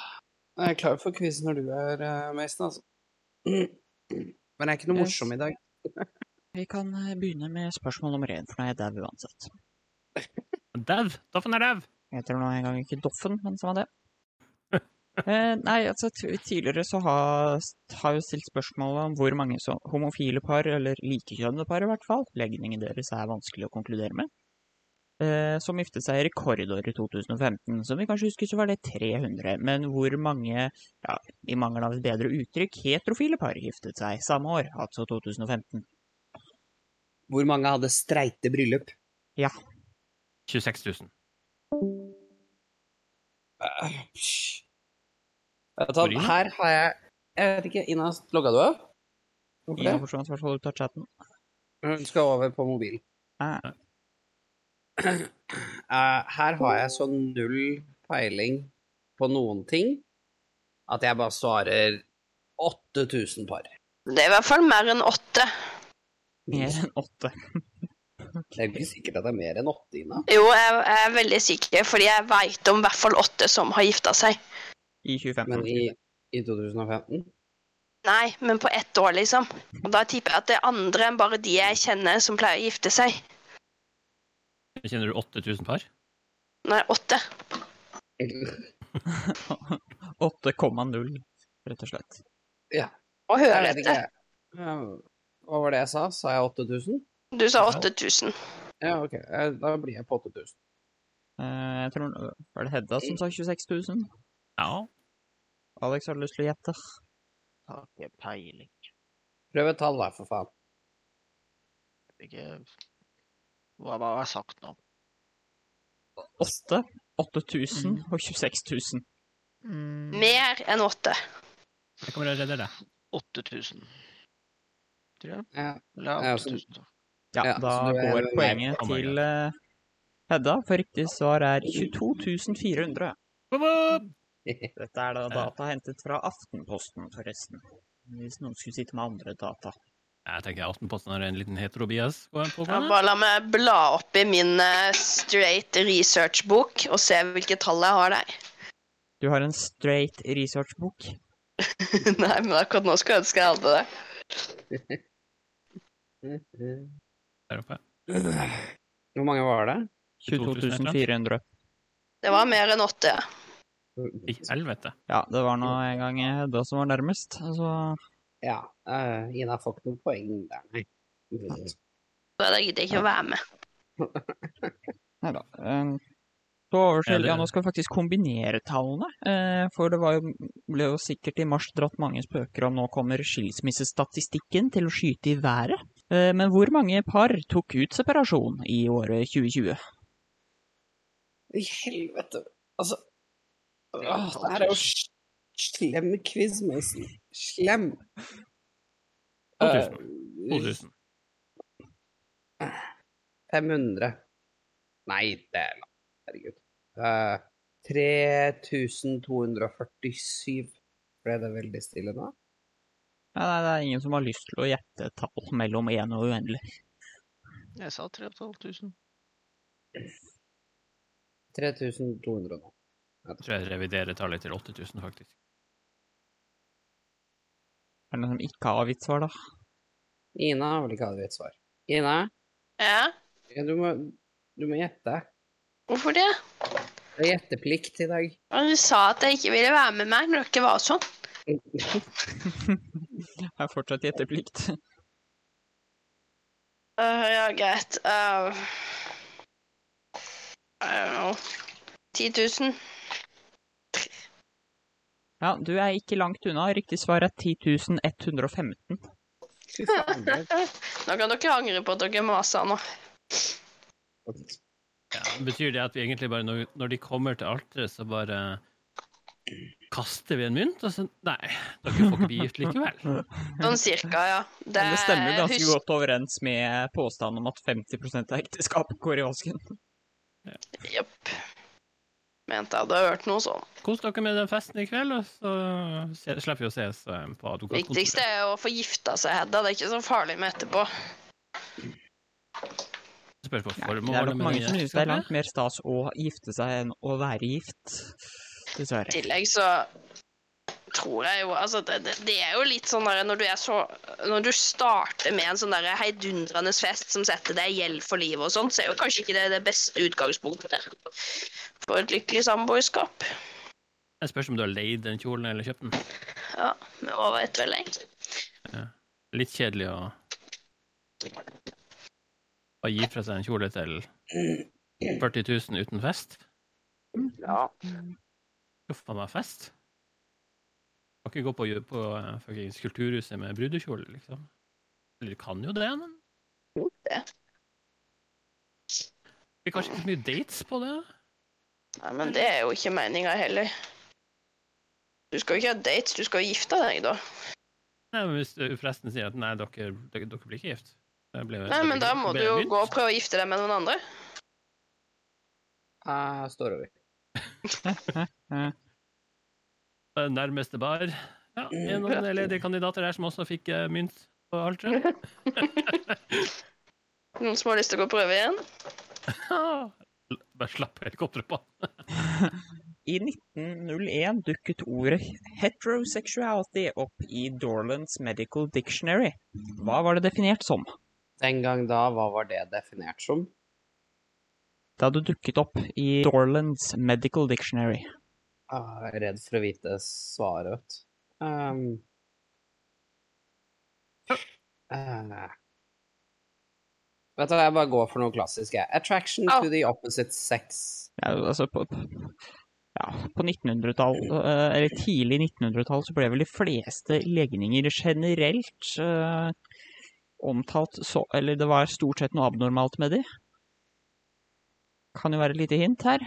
[SPEAKER 1] Jeg er klar for quiz når du er eh, Mason, altså. Men jeg er ikke noe
[SPEAKER 3] Yes.
[SPEAKER 1] morsom i dag.
[SPEAKER 3] Vi kan eh, begynne med spørsmål nummer én, for nå er jeg dau uansett.
[SPEAKER 6] Dau! Doffen er dau!
[SPEAKER 3] Jeg heter nå engang ikke Doffen, men samme det. Eh, nei, altså t- tidligere så har, har jo stilt spørsmålet om hvor mange så, homofile par, eller likekjønnede par i hvert fall, legningen deres er vanskelig å konkludere med, eh, som giftet seg i rekordåret 2015. Som vi kanskje husker så var det 300, men hvor mange, ja, i mangel av et bedre uttrykk, heterofile par giftet seg samme år, altså 2015?
[SPEAKER 1] Hvor mange hadde streite bryllup?
[SPEAKER 3] Ja,
[SPEAKER 6] 26 000.
[SPEAKER 1] Vet du hva,
[SPEAKER 6] Bryllup?
[SPEAKER 1] her har jeg Jeg vet ikke, Ina, logga du av? Hvorfor
[SPEAKER 3] Ina
[SPEAKER 1] det?
[SPEAKER 3] forsvant i hvert fall ut av chatten.
[SPEAKER 1] Hun skal over på mobilen.
[SPEAKER 3] Ah.
[SPEAKER 1] Eh, her har jeg så null peiling på noen ting at jeg bare svarer 8000 par.
[SPEAKER 2] Det er i hvert fall mer enn åtte.
[SPEAKER 3] Mer enn åtte.
[SPEAKER 1] Det er jo ikke sikkert at det er mer enn 80, Ina.
[SPEAKER 2] Jo, jeg, jeg er veldig sikker, fordi jeg veit om i hvert fall åtte som har gifta seg.
[SPEAKER 3] I 2015.
[SPEAKER 1] Men i, i 2015
[SPEAKER 2] Nei, men på ett år, liksom. Og da tipper jeg at det er andre enn bare de jeg kjenner som pleier å gifte seg.
[SPEAKER 6] Kjenner du 8000 par?
[SPEAKER 2] Nei, åtte.
[SPEAKER 3] 8,0, rett og slett.
[SPEAKER 2] Og
[SPEAKER 1] Jeg
[SPEAKER 2] hører
[SPEAKER 1] vet ikke.
[SPEAKER 2] etter.
[SPEAKER 1] jeg. Ja, Hva var det jeg sa? Sa jeg 8000?
[SPEAKER 2] Du sa 8000.
[SPEAKER 1] Ja, OK. eh, Da blir jeg på 8000.
[SPEAKER 3] Eh, Jeg tror, Var det Hedda som sa 26 000?
[SPEAKER 6] Ja.
[SPEAKER 3] Alex har lyst til å gjette.
[SPEAKER 4] Har ikke peiling.
[SPEAKER 1] Prøv et tall, da, for faen.
[SPEAKER 4] Ikke Hva hva har jeg sagt nå?
[SPEAKER 3] 8, 8000 og 26000. Mm.
[SPEAKER 2] Mer enn åtte.
[SPEAKER 6] Jeg kommer og redder deg.
[SPEAKER 4] 8000. Tror jeg.
[SPEAKER 1] Ja.
[SPEAKER 4] Eller
[SPEAKER 1] Ja, altså,
[SPEAKER 4] 8000. så.
[SPEAKER 3] Ja,
[SPEAKER 1] Ja,
[SPEAKER 3] da
[SPEAKER 1] så du er
[SPEAKER 3] går
[SPEAKER 1] med.
[SPEAKER 3] poenget
[SPEAKER 6] Oh my
[SPEAKER 3] til eh, Hedda, for riktig svar er 22400.
[SPEAKER 6] Boop, boop.
[SPEAKER 3] Dette er da data hentet fra Aftenposten, forresten. Hvis noen skulle sitte med andre data.
[SPEAKER 6] Jeg tenker Aftenposten har en liten heterobias på på
[SPEAKER 2] Ja,
[SPEAKER 6] banen.
[SPEAKER 2] bare la meg bla opp i min eh, straight research-bok og se hvilke tall jeg har der.
[SPEAKER 3] Du har en straight research-bok.
[SPEAKER 2] Nei, men akkurat nå skulle jeg ønske jeg hadde det.
[SPEAKER 6] der oppe.
[SPEAKER 1] Mm, Hvor mange var det?
[SPEAKER 3] 22400.
[SPEAKER 2] Det var mer enn åtte. ja.
[SPEAKER 6] I helvete.
[SPEAKER 3] Ja, det var nå en gang Hedda som var nærmest, så
[SPEAKER 1] Ja. eh, Ina har fått noen poeng der, nei.
[SPEAKER 2] Så Da gidder jeg ikke å være med.
[SPEAKER 3] Nei da. Så overskjell,
[SPEAKER 6] Ja, det-
[SPEAKER 3] ja, nå skal vi faktisk kombinere tallene. eh, For det var jo, ble jo sikkert i mars dratt mange spøker om nå kommer skilsmissestatistikken til å skyte i været. Eh, Men hvor mange par tok ut separasjon i året 2020?
[SPEAKER 1] I helvete. Altså Åh, det her er jo s- slem quiz, Mason. Slem.
[SPEAKER 6] 2000.
[SPEAKER 1] Eh,
[SPEAKER 6] 2000.
[SPEAKER 1] 500. Nei, det er langt. Herregud. Eh, 3247. Ble det veldig stille nå?
[SPEAKER 3] Ja, nei, det er ingen som har lyst til å gjette et tall mellom én og uendelig.
[SPEAKER 4] Jeg sa 3500.
[SPEAKER 1] 3200 nå.
[SPEAKER 6] Jeg tror jeg reviderer tallet til 8000, faktisk.
[SPEAKER 3] Er det noen som ikke har avgitt svar, da?
[SPEAKER 1] Ina har vel ikke hatt et svar. Ina,
[SPEAKER 2] Ja,
[SPEAKER 1] ja, du, må, du må gjette.
[SPEAKER 2] hvorfor det?
[SPEAKER 1] Det er gjetteplikt i dag.
[SPEAKER 2] Ja, Du sa at jeg ikke ville være med meg, men det var sånn.
[SPEAKER 3] Jeg har fortsatt gjetteplikt.
[SPEAKER 2] Øh, ja, greit. Uh, I don't know. 10 000.
[SPEAKER 3] Ja, du er ikke langt unna. Riktig svar er 10.115.
[SPEAKER 1] Fy faen. det
[SPEAKER 2] Nå kan dere angre på at dere masa nå.
[SPEAKER 1] er-
[SPEAKER 6] Ja, betyr det at vi egentlig bare, når, når de kommer til alteret, så bare kaster vi en mynt? Og så, nei, dere får ikke bli gift likevel.
[SPEAKER 2] Sånn cirka, ja. Det,
[SPEAKER 3] Men det stemmer
[SPEAKER 6] Eh,
[SPEAKER 3] jo ganske
[SPEAKER 2] husk-
[SPEAKER 3] godt overens med påstanden om at 50 av ekteskapet går i vasken.
[SPEAKER 2] Jepp. Mente jeg hadde hørt noe sånn.
[SPEAKER 6] Kos dere med den festen i kveld, og så se- slipper vi å ses eh, på
[SPEAKER 2] Viktigste
[SPEAKER 6] advokatkontoret.
[SPEAKER 2] er jo å få gifta seg, Hedda. Det er ikke så farlig med etterpå.
[SPEAKER 6] Spørs på
[SPEAKER 3] Det er
[SPEAKER 6] formålet
[SPEAKER 3] nok
[SPEAKER 6] med
[SPEAKER 3] mange som synes det
[SPEAKER 6] det
[SPEAKER 3] er
[SPEAKER 6] gjenskapet.
[SPEAKER 3] langt mer stas å gifte seg enn å være gift.
[SPEAKER 2] I
[SPEAKER 3] Dessverre.
[SPEAKER 2] tillegg så tror jeg jo Altså, det, det, det er jo litt sånn der når du er så Når du starter med en sånn der heidundrende fest som setter deg i gjeld for livet og sånn, så er jo kanskje ikke det det beste utgangspunktet for et lykkelig samboerskap.
[SPEAKER 6] Det spørs om du har leid den kjolen eller kjøpt den.
[SPEAKER 2] Ja, men hva vet vel jeg?
[SPEAKER 6] Litt kjedelig å å gi fra seg en kjole til 40 000 uten fest.
[SPEAKER 2] Ja.
[SPEAKER 6] Huff a meg fest. Kan ikke gå på, på eh, fuckings Kulturhuset med brudekjole, liksom. Eller du kan jo det, men
[SPEAKER 2] Det.
[SPEAKER 6] det blir kanskje ikke så mye dates på det.
[SPEAKER 2] Nei, men det er jo ikke meninga heller. Du skal jo ikke ha dates, du skal jo gifte deg, da.
[SPEAKER 6] Nei, men Hvis eh, presten sier at nei, dere, dere, dere blir ikke gift det blir-
[SPEAKER 2] Nei,
[SPEAKER 6] det
[SPEAKER 2] men
[SPEAKER 6] blir-
[SPEAKER 2] da
[SPEAKER 6] det
[SPEAKER 2] må du
[SPEAKER 6] blir
[SPEAKER 2] jo
[SPEAKER 6] mynt.
[SPEAKER 2] gå og prøve å gifte deg med noen andre.
[SPEAKER 1] Jeg står over.
[SPEAKER 6] Eh, Nærmeste bar. Ja, er det noen ledige kandidater her som også fikk eh, mynt på alteret?
[SPEAKER 2] Noen som har lyst til å gå og prøve igjen?
[SPEAKER 6] Bare slapp helikopteret på.
[SPEAKER 3] I 1901 dukket ordet heterosexuality opp i Dorlands Medical Dictionary. Hva var det definert som?
[SPEAKER 1] Den gang da, hva var det definert som?
[SPEAKER 3] Det hadde dukket opp i Dorlands Medical Dictionary.
[SPEAKER 1] Ah, Jeg er redd for å vite svaret, vet du. Ehm. Eh. Vet du hva, jeg bare går for noe klassisk, jeg. Attraction to the opposite sex.
[SPEAKER 3] Ja, altså på, på- ja, på 1900-tall, eh, eller tidlig 1900-tall, så ble vel de fleste legninger generelt eh, omtalt så Eller det var stort sett noe abnormalt med de. kan jo være et lite hint her.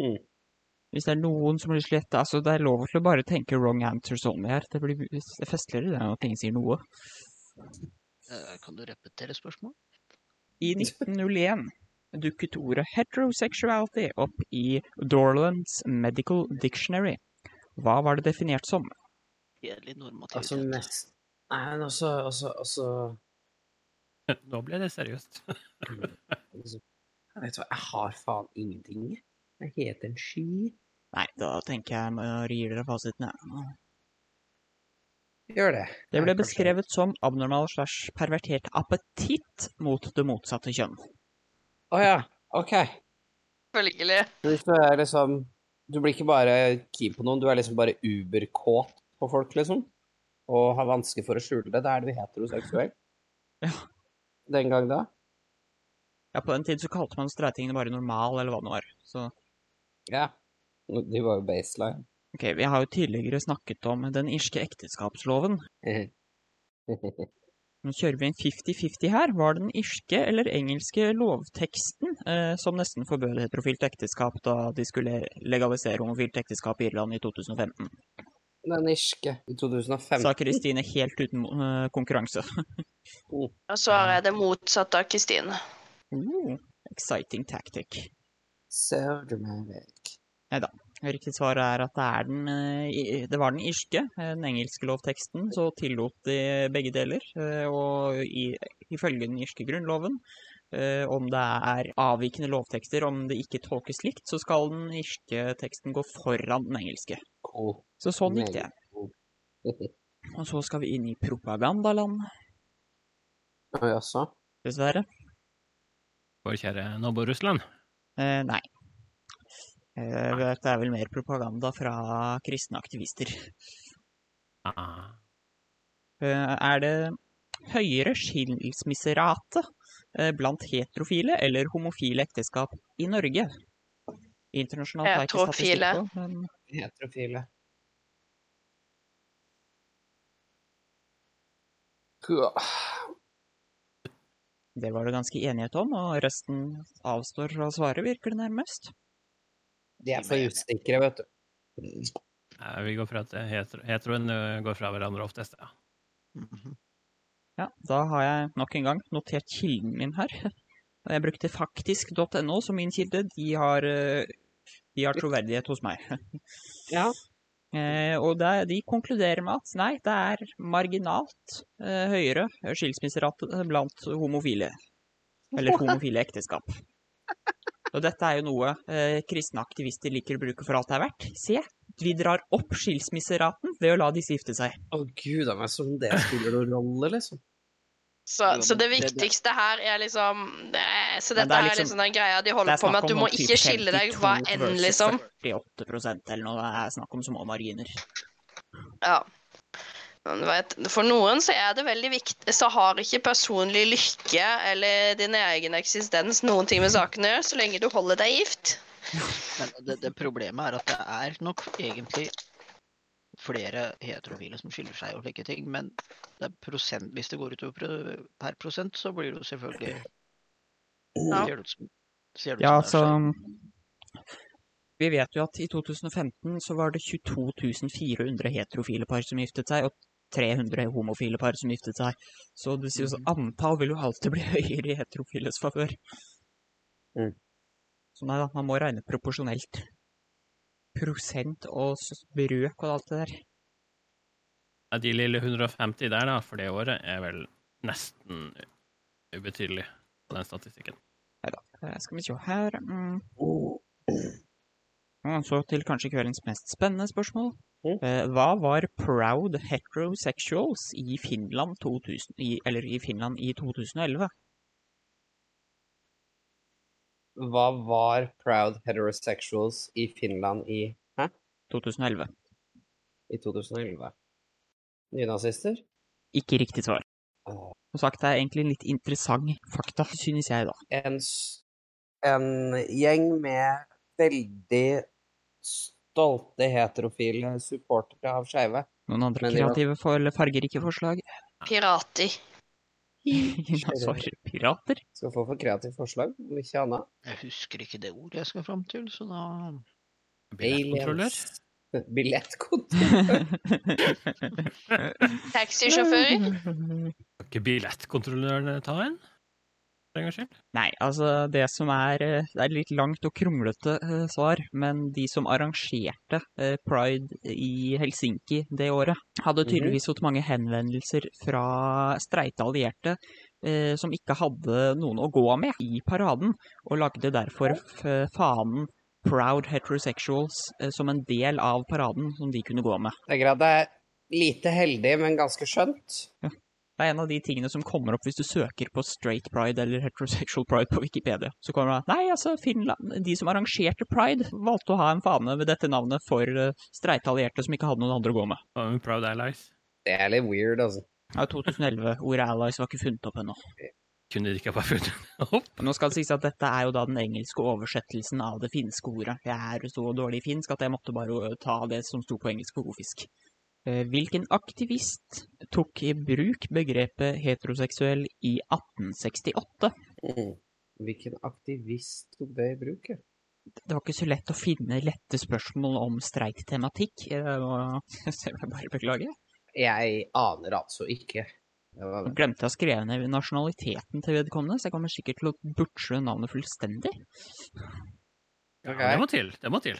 [SPEAKER 1] Mm.
[SPEAKER 3] Hvis det er noen som har lyst til å gjette altså Det er lov til å bare tenke wrong answers only her. Det blir det er festligere det enn at ingen sier noe.
[SPEAKER 4] Eh, Kan du repetere spørsmålet?
[SPEAKER 3] I 1901 dukket ordet heterosexuality opp i Dorlands Medical Dictionary. Hva var det definert som?
[SPEAKER 4] Kjedelig normativitet.
[SPEAKER 1] Altså nest... Nei, men også, også, også
[SPEAKER 6] Nå ble det seriøst.
[SPEAKER 1] Jeg altså, vet hva, jeg har faen ingenting. Jeg heter en sky.
[SPEAKER 3] Nei, da tenker jeg må gi dere fasiten, jeg.
[SPEAKER 1] Gjør det.
[SPEAKER 3] Det
[SPEAKER 1] Ja,
[SPEAKER 3] ble
[SPEAKER 1] kanskje.
[SPEAKER 3] beskrevet som abnormal slash pervertert appetitt mot det motsatte kjønn.
[SPEAKER 1] Å ja, OK.
[SPEAKER 2] Selvfølgelig.
[SPEAKER 1] Hvis du er liksom Du blir ikke bare keen på noen, du er liksom bare uberkåt på folk, liksom. Og har vanskelig for å skjule det. Da er du heteroseksuell.
[SPEAKER 3] Ja.
[SPEAKER 1] Den gang da.
[SPEAKER 3] Ja, på den tid så kalte man streitingene bare normal, eller hva det var. Så
[SPEAKER 1] Ja. De var jo baseline.
[SPEAKER 3] ok, vi har jo tidligere snakket om den irske ekteskapsloven.
[SPEAKER 1] Mhm.
[SPEAKER 3] Nå kjører vi en 50-50 her. Var det den irske eller engelske lovteksten eh, som nesten forbød heterofilt ekteskap da de skulle legalisere homofilt ekteskap i Irland i 2015?
[SPEAKER 1] Den irske i 2015.
[SPEAKER 3] Sa Kristine helt uten eh, konkurranse.
[SPEAKER 2] Og svaret er det motsatte av Kristine.
[SPEAKER 3] Oh, exciting tactic.
[SPEAKER 1] So dramatic.
[SPEAKER 3] Riktig svar er at det, er den, eh, i- det var den irske, eh, den engelske lovteksten, så tillot de begge deler. eh, Og i, ifølge den irske grunnloven, eh, om det er avvikende lovtekster, om det ikke tolkes likt, så skal den irske teksten gå foran den engelske.
[SPEAKER 1] Cool.
[SPEAKER 3] Så sånn gikk det. Og så skal vi inn i propagandaland,
[SPEAKER 1] Og jaså?
[SPEAKER 3] dessverre.
[SPEAKER 6] Vår kjære nabo Russland.
[SPEAKER 3] Eh, Nei. Eh, Det er vel mer propaganda fra kristne aktivister.
[SPEAKER 6] Ah.
[SPEAKER 3] Eh, Er det høyere skilsmisserate eh, blant heterofile eller homofile ekteskap i Norge? Internasjonalt har jeg ikke statistikk
[SPEAKER 2] Heterofile.
[SPEAKER 3] på, men
[SPEAKER 1] Heterofile.
[SPEAKER 3] det var det ganske enighet om, og resten avstår fra å svare, virker det nærmest.
[SPEAKER 1] De er for usikre, vet du.
[SPEAKER 6] Nei, eh, Vi går for at hetero- heteroen eh, går fra hverandre oftest. Ja.
[SPEAKER 4] Mhm.
[SPEAKER 3] Ja, da har jeg nok en gang notert kilden min her. Og Jeg brukte faktisk.no som min kilde. De har, eh, de har troverdighet hos meg.
[SPEAKER 1] Ja.
[SPEAKER 3] Eh, og det, de konkluderer med at nei, det er marginalt eh, høyere skilsmisserate blant homofile. Eller homofile ekteskap. Og dette er jo noe eh, kristne aktivister liker å bruke for alt det er verdt. Se, vi drar opp skilsmisseraten ved å la disse gifte seg.
[SPEAKER 1] Å gud a meg, som det spiller noen rolle, liksom.
[SPEAKER 2] Så,
[SPEAKER 4] Jo,
[SPEAKER 2] så det
[SPEAKER 4] men det- det-
[SPEAKER 2] viktigste her er liksom det, er- Så dette
[SPEAKER 3] Men det er
[SPEAKER 2] er
[SPEAKER 3] liksom-
[SPEAKER 2] liksom den greia de
[SPEAKER 3] Det er
[SPEAKER 2] holder på med,
[SPEAKER 3] snakk
[SPEAKER 2] at du
[SPEAKER 3] om
[SPEAKER 2] må
[SPEAKER 3] noen
[SPEAKER 2] ikke
[SPEAKER 3] typ
[SPEAKER 2] skille deg
[SPEAKER 3] 52
[SPEAKER 2] hva enn,
[SPEAKER 3] versus
[SPEAKER 2] liksom.
[SPEAKER 3] 48 eller noe. Det er snakk om små marginer.
[SPEAKER 2] Ja. Men du vet, for noen så er det veldig viktig Så har ikke personlig lykke eller din egen eksistens noen ting med saken å gjøre, så lenge du holder deg gift.
[SPEAKER 4] Men det, det problemet er at det er nok egentlig flere heterofile som skiller seg og slike ting, men det er prosent, hvis det går utover pro- per prosent, så blir det jo selvfølgelig
[SPEAKER 2] Ja.
[SPEAKER 4] ser det ut som, ser sånn det ut
[SPEAKER 3] Ja,
[SPEAKER 4] som
[SPEAKER 3] altså
[SPEAKER 4] det er
[SPEAKER 3] Vi vet jo at i 2015 så var det 22 400 heterofile par som giftet seg, og 300 homofile par som giftet seg. Så det sier jo at antall vil jo alltid bli høyere i heterofiles favør.
[SPEAKER 1] Mm.
[SPEAKER 3] Så nei da, man må regne proporsjonelt. Prosent og s- brøk og alt det der.
[SPEAKER 6] Ja, De lille 150 der da, for det året er vel nesten ubetydelig på den statistikken.
[SPEAKER 3] Eh, Skal vi se her mm. Og så til kanskje kveldens mest spennende spørsmål.
[SPEAKER 1] Mm.
[SPEAKER 3] Eh, Hva var proud heterosexuals i Finland, 2000, i, eller i Finland i 2011?
[SPEAKER 1] Hva var proud heterosexuals i Finland i,
[SPEAKER 3] 2011.
[SPEAKER 1] i 2011? Nynazister?
[SPEAKER 3] Ikke riktig svar.
[SPEAKER 1] Åh.
[SPEAKER 3] Som sagt, det er egentlig en litt interessant fakta, synes jeg, da.
[SPEAKER 1] En, s- en gjeng med veldig stolte heterofile supportere av skeive.
[SPEAKER 3] Noen andre
[SPEAKER 1] Men det var-
[SPEAKER 3] kreative for, eller fargerike forslag?
[SPEAKER 2] Pirater.
[SPEAKER 3] Dinosaurpirater.
[SPEAKER 1] Skal få for kreativt forslag, om ikke annet.
[SPEAKER 4] Jeg husker ikke det ordet jeg skal fram til, så da
[SPEAKER 6] Billettkontroller?
[SPEAKER 1] Billettkontroll.
[SPEAKER 3] Mm.
[SPEAKER 2] Taxisjåfør?
[SPEAKER 6] Kan ikke billettkontrolløren ta en? For en gangs skyld?
[SPEAKER 3] Nei, altså det som er eh, Det er litt langt og kronglete eh, svar, men de som arrangerte eh, pride i Helsinki det året, hadde
[SPEAKER 1] Mhm.
[SPEAKER 3] tydeligvis fått mange henvendelser fra streite allierte eh, som ikke hadde noen å gå med i paraden, og lagde derfor f fanen Proud Heterosexuals eh, som en del av paraden som de kunne gå med.
[SPEAKER 1] Det er greit, det er lite heldig, men ganske skjønt.
[SPEAKER 3] Det er en av de tingene som kommer opp hvis du søker på straight pride eller heterosexual pride på Wikipedia. Så kommer det Nei, altså, Finland De som arrangerte pride, valgte å ha en fane ved dette navnet for eh, streite allierte som ikke hadde noen andre å gå med.
[SPEAKER 6] Og en Proud Allies?
[SPEAKER 1] Det er litt weird, altså.
[SPEAKER 3] Ja, 2011. Ordet allies var ikke funnet opp ennå.
[SPEAKER 6] Kunne de ikke bare funnet den opp?
[SPEAKER 3] Nå skal det sies at dette er jo da den engelske oversettelsen av det finske ordet. Jeg er så dårlig i finsk at jeg måtte bare eh, ta det som sto på engelsk på godfisk. Eh, Hvilken aktivist tok i bruk begrepet heteroseksuell i 1868?
[SPEAKER 1] Mm. Hvilken aktivist tok det i bruk? ja?
[SPEAKER 3] det var ikke så lett å finne lette spørsmål om streit tematikk. eh, og- Så jeg vil bare beklage.
[SPEAKER 1] Jeg aner altså ikke. Det var
[SPEAKER 3] Nå glemte jeg å skrive ned nasjonaliteten til vedkommende, så jeg kommer sikkert til å butche navnet fullstendig.
[SPEAKER 6] Ja,
[SPEAKER 1] Ok.
[SPEAKER 6] det må til. Det må til.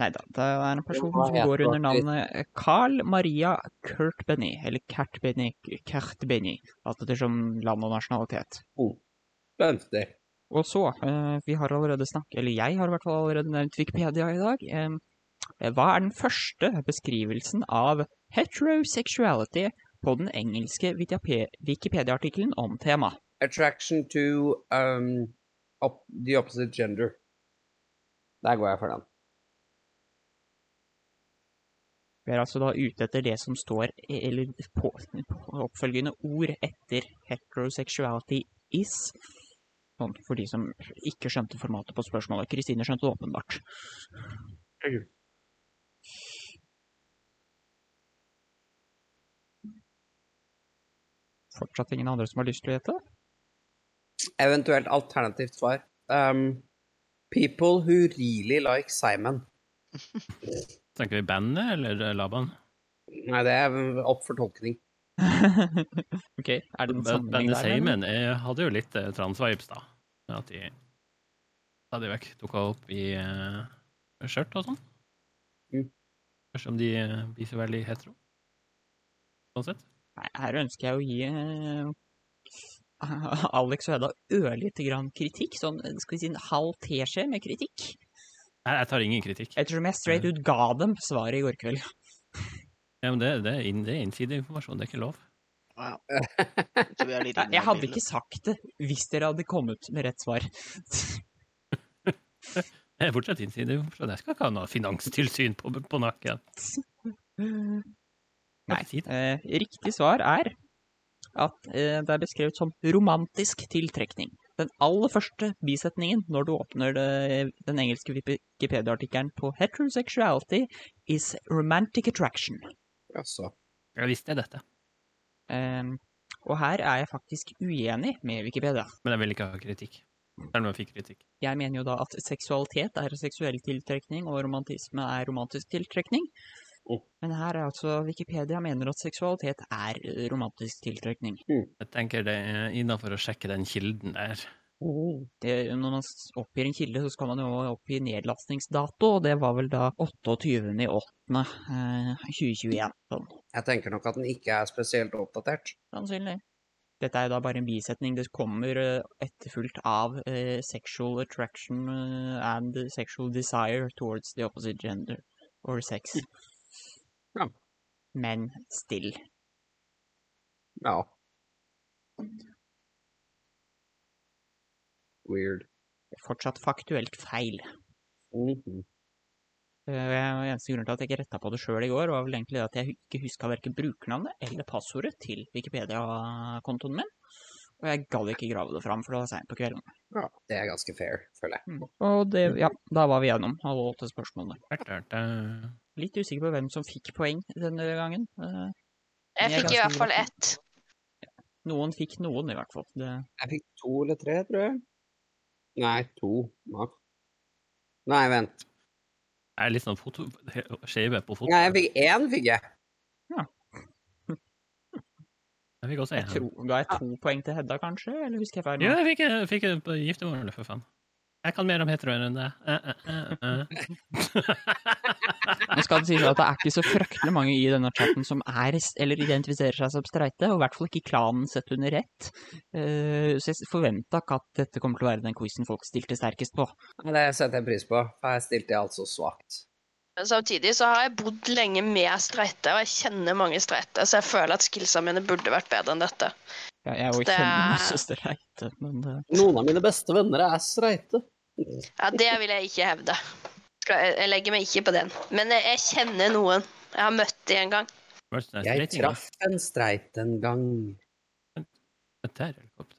[SPEAKER 3] Nei da, det er en person
[SPEAKER 1] Hva
[SPEAKER 3] som
[SPEAKER 1] heter
[SPEAKER 3] går under
[SPEAKER 1] aktivist?
[SPEAKER 3] navnet Carl Maria Kurtbeny, eller Kertbeny, Kertbeny, alt ettersom land og nasjonalitet.
[SPEAKER 1] Spennende.
[SPEAKER 3] Og så, eh, vi har allerede snakket, eller jeg har i hvert fall allerede nevnt Wikipedia i dag. Em, eh, hva er den første beskrivelsen av heterosexuality på den engelske Wikipe- Wikipedia-artikkelen om temaet?
[SPEAKER 1] Attraction to um, op the opposite gender. Der går jeg for den.
[SPEAKER 3] Vi er altså da ute etter det som står, eh, eller på, på oppfølgende ord etter heterosexuality is. Sånn, for de som ikke skjønte formatet på spørsmålet. Kristine skjønte det åpenbart. Fortsatt ingen andre som har lyst til å gjette?
[SPEAKER 1] Eventuelt alternativt svar. Um, people who really like Simon.
[SPEAKER 6] Tenker vi bandet eller eh, Laban?
[SPEAKER 1] Nei, det er opp for tolkning.
[SPEAKER 3] ok, er det en sammenheng
[SPEAKER 6] Bandet
[SPEAKER 3] der? eller?
[SPEAKER 6] Seimen eh, hadde jo litt eh, transvibes, da. Med at de stadig vekk dukka opp i eh, skjørt og sånn.
[SPEAKER 1] Mm.
[SPEAKER 6] Spørs om de eh, blir så veldig hetero. Sånn sett.
[SPEAKER 3] Nei, her ønsker jeg å gi eh, Alex og Hedda ørlite grann kritikk. Sånn, skal vi si en halv teskje med kritikk.
[SPEAKER 6] Nei, jeg tar ingen kritikk.
[SPEAKER 3] Ettersom jeg straight ut ga dem svaret i går kveld.
[SPEAKER 6] Ja, men det, det, er inn- det er innsideinformasjon, det er ikke lov.
[SPEAKER 4] ja. Så vi er litt
[SPEAKER 3] Jeg hadde
[SPEAKER 4] inhabile.
[SPEAKER 3] ikke sagt det hvis dere hadde kommet med rett svar.
[SPEAKER 6] Det er fortsatt innsideinformasjon. Jeg skal ikke ha noe finanstilsyn på, på nakken.
[SPEAKER 3] Nei.
[SPEAKER 6] si det.
[SPEAKER 3] eh, riktig svar er at eh, det er beskrevet som romantisk tiltrekning. Den aller første bisetningen når du åpner det, den engelske Wikipedia-artikkelen på heterosexuality is romantic attraction.
[SPEAKER 1] Jaså.
[SPEAKER 6] Jeg visste dette,
[SPEAKER 3] Ehm, og her er jeg faktisk uenig med Wikipedia.
[SPEAKER 6] men jeg ville ikke ha kritikk. Selv om jeg fikk kritikk.
[SPEAKER 3] Jeg mener jo da at seksualitet er seksuell tiltrekning, og romantisme er romantisk tiltrekning.
[SPEAKER 1] Mm.
[SPEAKER 3] Men her er altså Wikipedia mener at seksualitet er eh, romantisk tiltrekning.
[SPEAKER 6] Jeg tenker det er innafor å sjekke den kilden der.
[SPEAKER 3] Det, når man s- oppgir en kilde, så skal man jo oppgi nedlastningsdato, og det var vel da 28.08.2021. Eh, 2021, sånn.
[SPEAKER 1] Jeg tenker nok at den ikke er spesielt oppdatert.
[SPEAKER 3] Sannsynlig. Dette er jo da bare en bisetning. Det kommer eh, etterfulgt av eh, sexual attraction eh, and sexual desire towards the opposite gender or sex.
[SPEAKER 1] Ja.
[SPEAKER 3] Men still.
[SPEAKER 1] Ja. Weird.
[SPEAKER 3] Fortsatt faktuelt feil.
[SPEAKER 1] Mhm.
[SPEAKER 3] Eh, eneste grunnen til at jeg ikke retta på det sjøl i går, var vel egentlig det at jeg ikke huska verken brukernavnet eller passordet til Wikipedia-kontoen min. Og jeg gadd ikke grave det fram, for det var seint på kvelden.
[SPEAKER 1] ja. Det er ganske fair, føler jeg.
[SPEAKER 3] Og det, ja, da var vi gjennom alle åtte spørsmålene.
[SPEAKER 6] Hørte, hørte.
[SPEAKER 3] Litt usikker på hvem som fikk poeng denne gangen. Eh,
[SPEAKER 2] Jeg
[SPEAKER 3] Jeg er
[SPEAKER 2] fikk i
[SPEAKER 3] ganske
[SPEAKER 2] hvert fall ett.
[SPEAKER 3] Noen fikk noen, i hvert fall. Det,
[SPEAKER 1] Jeg fikk to eller tre, tror jeg. Nei, to. maks. Nei, vent.
[SPEAKER 6] Jeg er litt sånn foto... skeive på foto.
[SPEAKER 1] Nei, jeg fikk én, fikk jeg.
[SPEAKER 6] Jeg fikk også
[SPEAKER 3] jeg
[SPEAKER 6] en.
[SPEAKER 3] tror, ga jeg to poeng til Hedda, kanskje? Eller husker jeg feil? nå?
[SPEAKER 6] Jo, jeg fikk, jeg fikk en på giftermålet, for faen. Jeg kan mer om heteroer enn deg. Eh, eh, eh, eh.
[SPEAKER 3] Nå skal det sies at det er ikke så fryktelig mange i denne chatten som er, eller identifiserer seg som streite, og i hvert fall ikke klanen sett under ett. Eh, Så jeg forventa ikke at dette kommer til å være den quizen folk stilte sterkest på.
[SPEAKER 1] Nei, Det setter jeg pris på. for Her stilte jeg altså svakt.
[SPEAKER 2] Men Samtidig så har jeg bodd lenge med streite, og jeg kjenner mange streite, så jeg føler at skillsa mine burde vært bedre enn dette.
[SPEAKER 3] Jeg, jeg jo
[SPEAKER 2] Det er-
[SPEAKER 3] kjenner masse streite, men eh, det,
[SPEAKER 1] Noen av mine beste venner er streite.
[SPEAKER 2] Ja, det vil jeg ikke hevde. Skal- Jeg jeg legger meg ikke på den. Men jeg- jeg kjenner noen. Jeg har møtt de en gang.
[SPEAKER 6] Merchandise
[SPEAKER 1] Jeg
[SPEAKER 6] rating,
[SPEAKER 1] traff en streit en gang.
[SPEAKER 6] altså. Der, helikopter.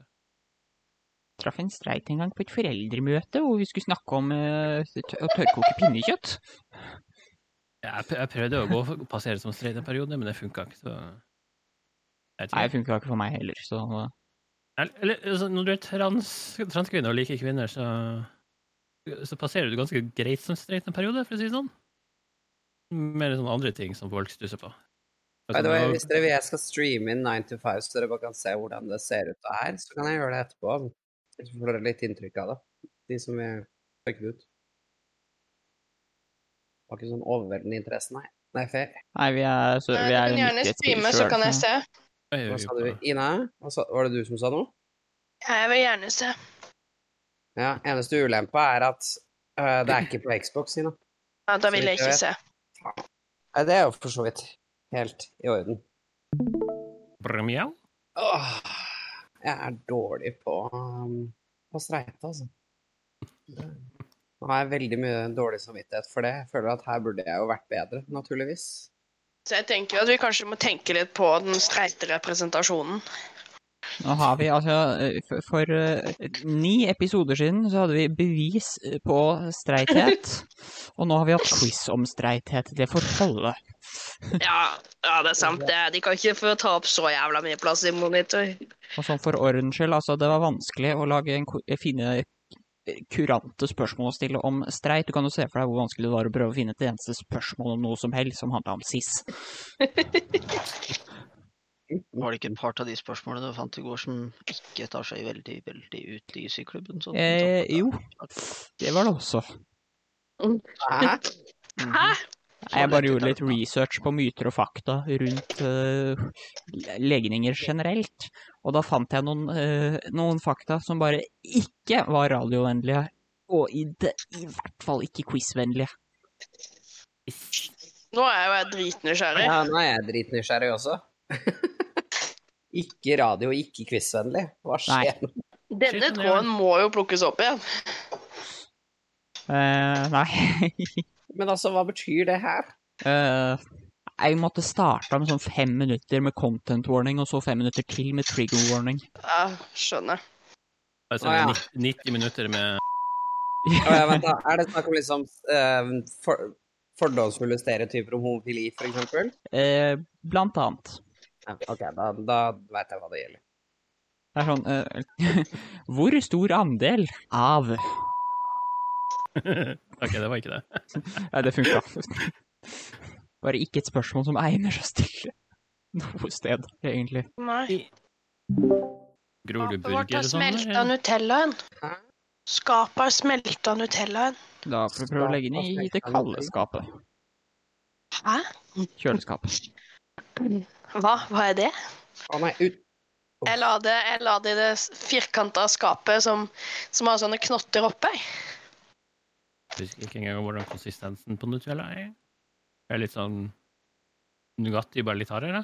[SPEAKER 3] traff en streit en gang på et foreldremøte hvor vi skulle snakke om eh, tø- å tørrkoke pinnekjøtt.
[SPEAKER 6] Jeg, pr- jeg prøvde å gå for, passere som streit en periode, men det funka ikke. så... Jeg
[SPEAKER 3] Nei,
[SPEAKER 6] vet ikke.
[SPEAKER 3] det funka ikke for meg heller, så
[SPEAKER 6] Eller, eller altså, når du er trans, transkvinne og liker kvinner, så, så passerer du ganske greit som streit en periode, for å si det sånn. Mer sånn andre ting som folk stusser på.
[SPEAKER 1] By the way, hvis dere vil jeg skal streame inn 9 to 5, så dere bare kan se hvordan det ser ut der, så kan jeg gjøre det etterpå. Så får dere litt inntrykk av det. De som er sjekket ut. Var ikke sånn overveldende interesse, nei. Nei, fair.
[SPEAKER 3] Nei, vi er, så, vi er
[SPEAKER 2] se.
[SPEAKER 6] Oi,
[SPEAKER 1] Hva
[SPEAKER 6] oi,
[SPEAKER 1] sa du,
[SPEAKER 6] oi.
[SPEAKER 1] Ina? Hva sa, var det du som sa noe?
[SPEAKER 2] Jeg vil gjerne se.
[SPEAKER 1] Ja, eneste ulempa er at øh, det er ikke på Xbox, Ina.
[SPEAKER 2] Ja, da vil jeg ikke se.
[SPEAKER 1] Nei, det er jo for så vidt helt i orden.
[SPEAKER 6] Brr, mjau.
[SPEAKER 1] Åh, jeg er dårlig på, um, på streite, altså. Nå har jeg veldig mye dårlig samvittighet for det. Jeg føler at her burde jeg jo vært bedre, naturligvis.
[SPEAKER 2] Så jeg tenker jo at vi kanskje må tenke litt på den streite representasjonen.
[SPEAKER 3] Nå har vi altså eh, For, for eh, ni episoder siden så hadde vi bevis eh, på streithet. Og nå har vi hatt quiz om streithet. Det får holde.
[SPEAKER 2] Ja, ja det er sant. Det. er- De kan ikke få ta opp så jævla mye plass i monitor.
[SPEAKER 3] Og sånn for ordens skyld, altså, det var vanskelig å lage en, ko- finne eh, kurante spørsmål å stille om streit. Du kan jo se for deg hvor vanskelig det var å prøve å finne et eneste spørsmål om noe som helst som handla om cis.
[SPEAKER 4] Var det ikke et par av de spørsmålene du fant i går som ikke tar seg veldig veldig ut i syklubben? Sånn,
[SPEAKER 3] Eh,
[SPEAKER 4] sånn-
[SPEAKER 3] jo. Det var det også.
[SPEAKER 1] Hæ?
[SPEAKER 4] Mhm.
[SPEAKER 2] Hæ?
[SPEAKER 3] Nei, Jeg bare gjorde litt research på myter og fakta rundt eh, legninger generelt. Og da fant jeg noen, eh, noen fakta som bare ikke var radiovennlige. Og i, det, i hvert fall ikke quizvennlige.
[SPEAKER 2] Nå er jo jeg dritnysgjerrig.
[SPEAKER 1] Ja, nå er jeg dritnysgjerrig også. ikke radio, ikke quizvennlig. Hva
[SPEAKER 3] Nei.
[SPEAKER 1] skjer? nå?
[SPEAKER 2] Denne tråden må jo plukkes opp igjen.
[SPEAKER 3] Eh, nei.
[SPEAKER 1] Men altså, hva betyr det her?
[SPEAKER 3] Eh, jeg måtte starte med sånn fem minutter med content warning, og så fem minutter til med trigger warning.
[SPEAKER 2] Ja, skjønner.
[SPEAKER 6] Altså,
[SPEAKER 1] Å, ja.
[SPEAKER 6] 90 minutter med
[SPEAKER 1] Å, ja, vent da. Er det snakk om liksom eh, for, fordomsfulle stereotyper om homofili, for eksempel?
[SPEAKER 3] Eh, blant annet.
[SPEAKER 1] Ja, ok, da, da veit jeg hva det gjelder.
[SPEAKER 3] Det er sånn eh, Hvor stor andel av
[SPEAKER 6] OK, det var ikke det.
[SPEAKER 3] Nei, det funka. Bare ikke et spørsmål som egner seg å stille noe sted, egentlig.
[SPEAKER 2] Nei.
[SPEAKER 6] Gror du
[SPEAKER 2] Skapet vårt har
[SPEAKER 6] burger og sånn?
[SPEAKER 2] smelta
[SPEAKER 6] eller?
[SPEAKER 2] Nutellaen.
[SPEAKER 1] Hæ?
[SPEAKER 2] Skapet har smelta Nutellaen.
[SPEAKER 3] Da får vi prøve å legge den i det kalde skapet.
[SPEAKER 2] Hæ?
[SPEAKER 3] Kjøleskapet.
[SPEAKER 2] Hva? Hva er det?
[SPEAKER 1] Å nei, ut...
[SPEAKER 2] Jeg la det, jeg la det i det firkanta skapet som, som har sånne knotter oppe.
[SPEAKER 6] Jeg husker ikke engang hvordan konsistensen på Nutella er. Det er litt sånn Nugatti, bare litt hardere.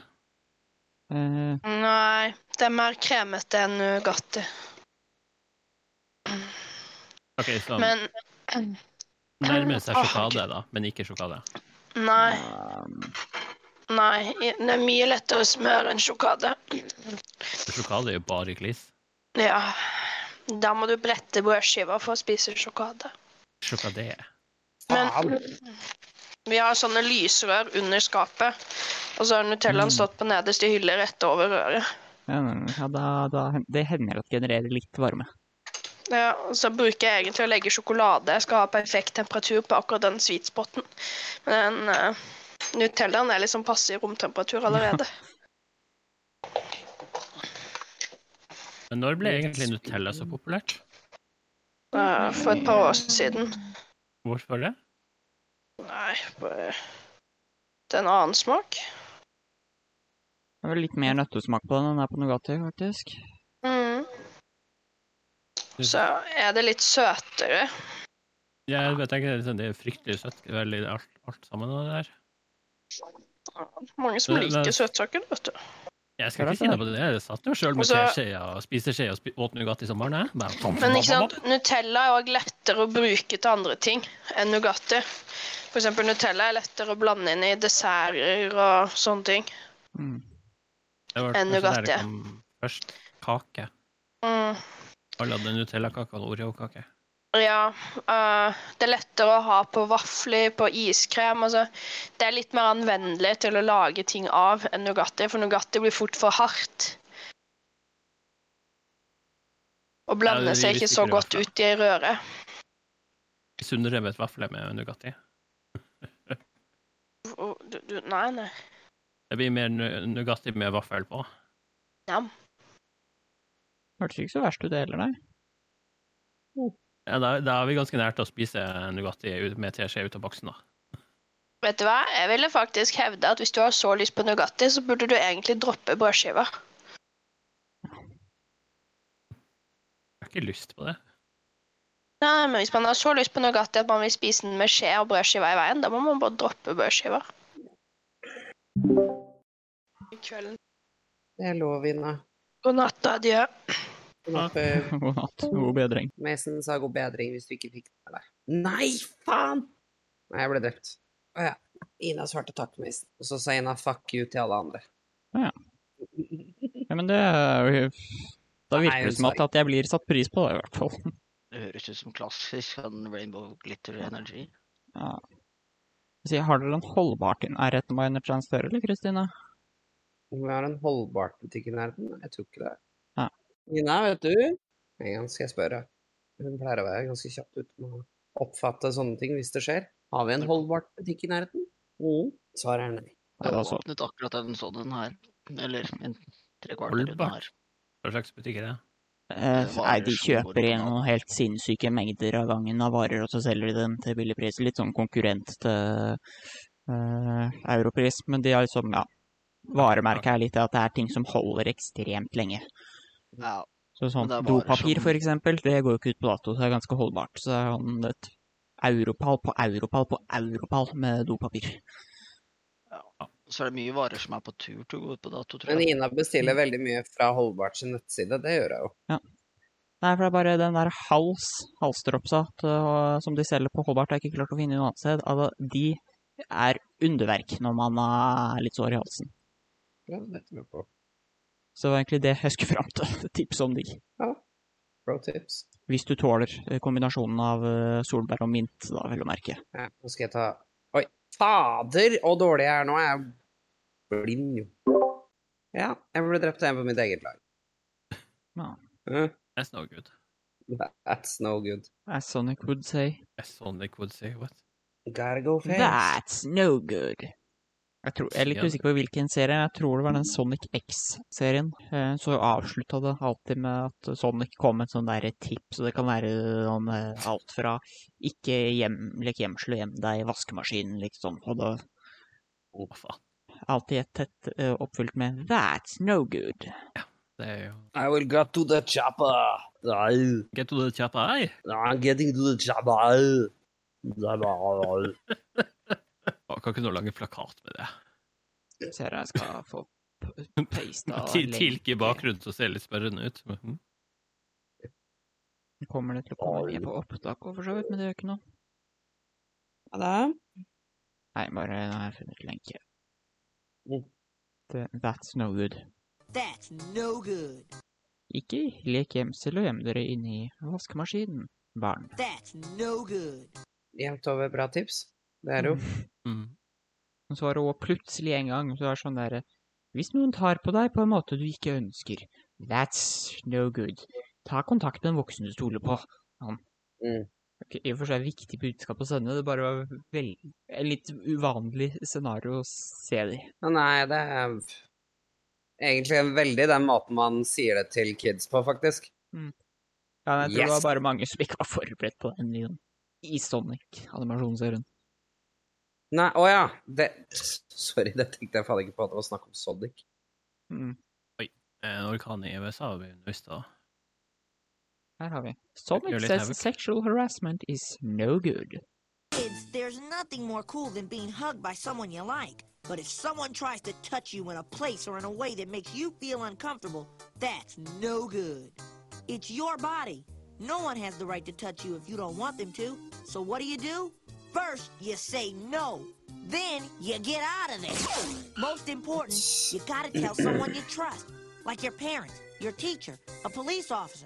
[SPEAKER 3] Eh,
[SPEAKER 2] Nei, det er mer kremete enn Nugatti.
[SPEAKER 6] OK, så
[SPEAKER 2] Men eh,
[SPEAKER 6] nærmer seg
[SPEAKER 2] Åh,
[SPEAKER 6] sjokade, da, men ikke sjokade.
[SPEAKER 2] nei,
[SPEAKER 3] um,
[SPEAKER 2] nei. Det er mye lettere å smøre enn sjokade.
[SPEAKER 6] For sjokade er jo bare glis.
[SPEAKER 2] Ja. Da må du brette brødskiva for å spise sjokade.
[SPEAKER 6] Sjokade.
[SPEAKER 2] Men-
[SPEAKER 1] Faen!
[SPEAKER 2] Vi har sånne lysrør under skapet. Og så har Nutellaen
[SPEAKER 3] Mm.
[SPEAKER 2] stått på nederste hylle rett over røret.
[SPEAKER 3] Ja, men- ja da, da, det hender at det genererer litt varme.
[SPEAKER 2] Ja, og så bruker jeg egentlig å legge sjokolade. Jeg skal ha perfekt temperatur på akkurat den sweet spoten. Men den eh, Nutellaen er liksom passe i romtemperatur allerede.
[SPEAKER 6] Men når ble egentlig Nutella så populært?
[SPEAKER 2] Eh, for et par år siden.
[SPEAKER 6] Hvorfor det?
[SPEAKER 2] Nei, bare Det er en annen smak.
[SPEAKER 3] Det er vel litt mer nøttesmak på den enn det er på Nugatti, faktisk.
[SPEAKER 2] Mm. Så er det litt søtere.
[SPEAKER 6] Jeg vet ikke, det er sånn- det er fryktelig søtt. Veldig alt, alt sammen og det der.
[SPEAKER 2] Mange som
[SPEAKER 6] Det- det-
[SPEAKER 2] liker søtsaker, vet du.
[SPEAKER 6] Jeg skal ikke si noe på det. Jeg satt jo sjøl med
[SPEAKER 2] Og så-
[SPEAKER 6] teskjeer og spiseskjeer og spi åt Nugatti som barn, jeg. Bare pom, pom,
[SPEAKER 2] Altså- Men
[SPEAKER 6] pom,
[SPEAKER 2] ikke sant,
[SPEAKER 6] pom.
[SPEAKER 2] Nutella er òg lettere å bruke til andre ting enn Nugatti. For eksempel Nutella er lettere å blande inn i desserter og sånne ting.
[SPEAKER 3] Mm.
[SPEAKER 6] Det var
[SPEAKER 2] En
[SPEAKER 6] kanskje der det
[SPEAKER 2] Nugatti.
[SPEAKER 6] kom Først kake.
[SPEAKER 2] Mm.
[SPEAKER 6] Alle hadde Nutella-kake og Oreo-kake.
[SPEAKER 2] Ja, øh, det er lettere å ha på vafler, på iskrem. Altså, det er litt mer anvendelig til å lage ting av enn Nugatti, for Nugatti blir fort for hardt. Og blander
[SPEAKER 6] det blir
[SPEAKER 2] seg
[SPEAKER 6] litt
[SPEAKER 2] ikke så
[SPEAKER 6] sikkert i hvert
[SPEAKER 2] godt
[SPEAKER 6] fall.
[SPEAKER 2] ut i røret.
[SPEAKER 6] Sunnrevet vafle med Nugatti.
[SPEAKER 2] Og du- du- Nei, nei.
[SPEAKER 6] Det blir mer nu- Nugatti med vaffel på.
[SPEAKER 3] Hørtes ikke så verst ut, det heller, nei.
[SPEAKER 6] Ja, da, da er vi ganske nært å spise Nugatti ut- med teskje ut av boksen, da.
[SPEAKER 2] Vet du hva? Jeg ville faktisk hevde at hvis du har så lyst på Nugatti, så burde du egentlig droppe brødskiva.
[SPEAKER 6] Jeg har ikke lyst på det.
[SPEAKER 2] Nei, men hvis man har så lyst på Nugatti at man vil spise den med skje og brødskiva i veien, da må man bare droppe brødskiva. Kvelden.
[SPEAKER 1] Det er lov, Ina.
[SPEAKER 2] God natt, adjø.
[SPEAKER 1] Nå får
[SPEAKER 3] God natt, god bedring.
[SPEAKER 1] Mason sa god bedring hvis du ikke fikk det med deg. Nei, faen! Nei, jeg ble drept. Å ja. Ina svarte takk, Mason. Og så sa Ina fuck you til alle andre. Mm,
[SPEAKER 3] Å ja. Ja, men det er jo- Da
[SPEAKER 1] Nei,
[SPEAKER 3] virker det som
[SPEAKER 1] sorry.
[SPEAKER 3] at, at jeg blir satt pris på, da, i hvert fall.
[SPEAKER 4] Det høres ut som klassisk sånn Rainbow Glitter Energy.
[SPEAKER 3] Så jeg har dere en holdbar til nærheten by any chance, dere, eller, Kristine?
[SPEAKER 1] Om vi har en holdbar butikk i nærheten? Nei, Jeg tror ikke det.
[SPEAKER 3] Ja.
[SPEAKER 1] Ina, vet du? En gang skal jeg spørre. Hun pleier å være ganske kjapt ute med å oppfatte sånne ting hvis det skjer. Har vi en holdbar butikk i nærheten? Mm. Svaret er nei.
[SPEAKER 3] Ja,
[SPEAKER 4] Jeg
[SPEAKER 3] altså.
[SPEAKER 4] åpnet akkurat en sånn en her. Eller en trekvarter en
[SPEAKER 6] Holdbart.
[SPEAKER 4] her.
[SPEAKER 6] Hva slags butikk er det?
[SPEAKER 3] Eh,
[SPEAKER 4] Det var
[SPEAKER 3] nei, de
[SPEAKER 4] jo så
[SPEAKER 3] kjøper inn
[SPEAKER 4] originalt.
[SPEAKER 3] noen helt sinnssyke mengder av gangen av varer, og så selger de dem til billig pris. Litt sånn konkurrent til eh, europris, men de har liksom, ja Varemerket er litt det at det er ting som holder ekstremt lenge.
[SPEAKER 4] Ja,
[SPEAKER 3] Så sånn
[SPEAKER 4] Men det er varer
[SPEAKER 3] dopapir,
[SPEAKER 4] som-
[SPEAKER 3] for eksempel, det går jo ikke ut på dato, så det er ganske holdbart. Så det er sånn et europall på europall på europall med dopapir.
[SPEAKER 4] så er det mye varer som er på tur til å gå ut på dato, tror
[SPEAKER 1] Men
[SPEAKER 4] jeg.
[SPEAKER 1] Ina bestiller veldig mye fra Holdbart sin nettside. Det gjør jeg jo.
[SPEAKER 3] Nei, for det er bare den der hals, halsdropsa til- som de selger på Hobart, har jeg ikke klart å finne noe annet sted. Altså, de er underverk når man er litt sår i halsen.
[SPEAKER 1] Ja, det tror jeg på.
[SPEAKER 3] Så det var egentlig det jeg skulle fram til. Tips om de.
[SPEAKER 1] Pro tips.
[SPEAKER 3] Hvis du tåler eh, kombinasjonen av eh, solbær og mint, da, vil du merke.
[SPEAKER 1] Ja, nå skal jeg ta Oi, fader, så dårlig jeg er nå. Jeg er blind, jo. Ja, jeg ble drept av en på mitt eget lag.
[SPEAKER 3] Ja.
[SPEAKER 1] Eh,
[SPEAKER 6] Jeg så ikke ut.
[SPEAKER 1] That's no good.
[SPEAKER 3] As Sonic would say.
[SPEAKER 6] Jeg så det could say what.
[SPEAKER 1] Gotta go fast.
[SPEAKER 3] That's no good. Jeg, tror, jeg er litt
[SPEAKER 6] Ja.
[SPEAKER 3] usikker på hvilken serie. Jeg tror det var den Sonic X-serien. Eh, Så avslutta det alltid med at Sonic kom med et sånn derre tips, og det kan være sånn eh, alt fra ikke hjem, lek gjemsel og gjem deg i vaskemaskinen, liksom. Og det
[SPEAKER 6] Å, faen.
[SPEAKER 3] alltid et tett eh, oppfylt med That's no good.
[SPEAKER 6] Det er jo
[SPEAKER 1] I will get to the chopper. Nei,
[SPEAKER 6] Get to the chappa, ei!
[SPEAKER 1] I'm getting to the chopper. Nei, nei, nei.
[SPEAKER 6] Å, Kan ikke noen lage plakat med det?
[SPEAKER 3] Ser jeg skal få p- pasta
[SPEAKER 6] Til- Tilke i bakgrunnen så ser det litt spørrende ut. men, hm.
[SPEAKER 3] Kommer det til å komme med på opptak òg, for så vidt, men det gjør ikke noe.
[SPEAKER 1] Hva da?
[SPEAKER 3] Nei, bare nå har jeg funnet lenke.
[SPEAKER 1] Mm.
[SPEAKER 3] Det, that's no good. That's no good. Ikke lek gjemsel og gjem dere inni vaskemaskinen, barn.
[SPEAKER 1] Jevnt over bra tips. Det er jo
[SPEAKER 6] Mm.
[SPEAKER 3] Og så var det også plutselig en gang så var det sånn derre Hvis noen tar på deg på en måte du ikke ønsker, that's no good. Ta kontakt med en voksen du stoler på. Sånn.
[SPEAKER 1] Mm.
[SPEAKER 3] Ok, I og for seg viktig budskap å sende, det bare var vel, et litt uvanlig scenario å se det i.
[SPEAKER 1] Men nei, det er egentlig veldig den måten man sier det til kids på, faktisk.
[SPEAKER 3] Ja, men jeg tror det
[SPEAKER 1] Yes!
[SPEAKER 3] var bare mange som ikke var forberedt på sånn den videoen i Sonic-animasjonsserien.
[SPEAKER 1] Nei, å ja. Det, sorry, det tenkte jeg faen ikke på at det var snakk om Sonic.
[SPEAKER 3] Mm,
[SPEAKER 6] En orkan i USA ble nøst av.
[SPEAKER 3] her har vi. Sonic
[SPEAKER 6] litt
[SPEAKER 3] says
[SPEAKER 6] havoc.
[SPEAKER 3] sexual harassment is no good.
[SPEAKER 7] Kids, there's nothing more cool than being hugged by someone you like. But if someone tries to touch you in a place or in a way that makes you feel uncomfortable, that's no good. It's your body. No one has the right to touch you if you don't want them to. So what do you do? First, you say no. Then, you get out of there. Most important, you gotta tell someone you trust, like your parents, your teacher, a police officer.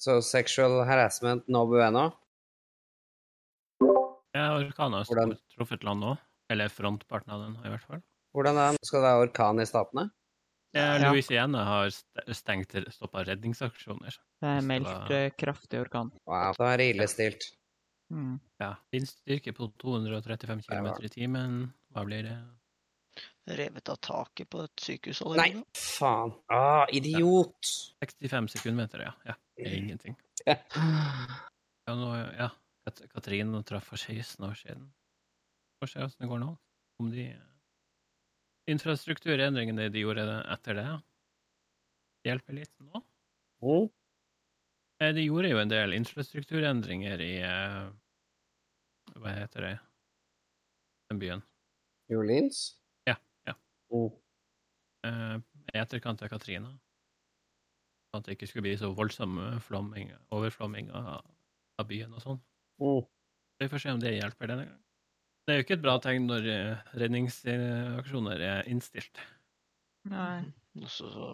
[SPEAKER 1] Så sexual harassment no bueno.
[SPEAKER 6] Ja, orkanen har
[SPEAKER 1] Hvordan-
[SPEAKER 6] stort- truffet land nå. Eller frontparten av den, i hvert fall.
[SPEAKER 1] Hvordan er det? Skal det være orkan i Statene?
[SPEAKER 6] Ja,
[SPEAKER 3] Ja.
[SPEAKER 6] Louisiana har st- stengt stoppa redningsaksjoner.
[SPEAKER 3] Det er
[SPEAKER 6] Hvis det
[SPEAKER 3] meldt
[SPEAKER 6] var-
[SPEAKER 3] eh, kraftig orkan.
[SPEAKER 1] Wow, det er ille stilt.
[SPEAKER 3] Mm.
[SPEAKER 6] Ja. Vindstyrke på 235 km i timen. Hva blir det?
[SPEAKER 4] Revet av taket på et sykehus
[SPEAKER 1] Nei,
[SPEAKER 4] allerede.
[SPEAKER 1] faen. Ah, idiot.
[SPEAKER 6] 65 sekundmeter, ja. ja. Det er ingenting. Ja, nå, ja. Kat Katrin traff for 16 år siden. Får se åssen det går nå. Om de eh, infrastrukturendringene de gjorde etter det, hjelper litt nå.
[SPEAKER 1] Mm.
[SPEAKER 6] Eh, De gjorde jo en del infrastrukturendringer i eh, Hva heter det? Den byen.
[SPEAKER 1] New Orleans?
[SPEAKER 6] Ja, ja.
[SPEAKER 1] Mm.
[SPEAKER 6] eh, i etterkant av Katrina. Sånn at det ikke skulle bli så voldsom eh, flomming, overflomming av, av byen og sånn.
[SPEAKER 1] Mm.
[SPEAKER 6] Vi får se om det hjelper denne gangen. Det er jo ikke et bra tegn når eh, redningsaksjoner er innstilt.
[SPEAKER 3] Nei.
[SPEAKER 4] Og så så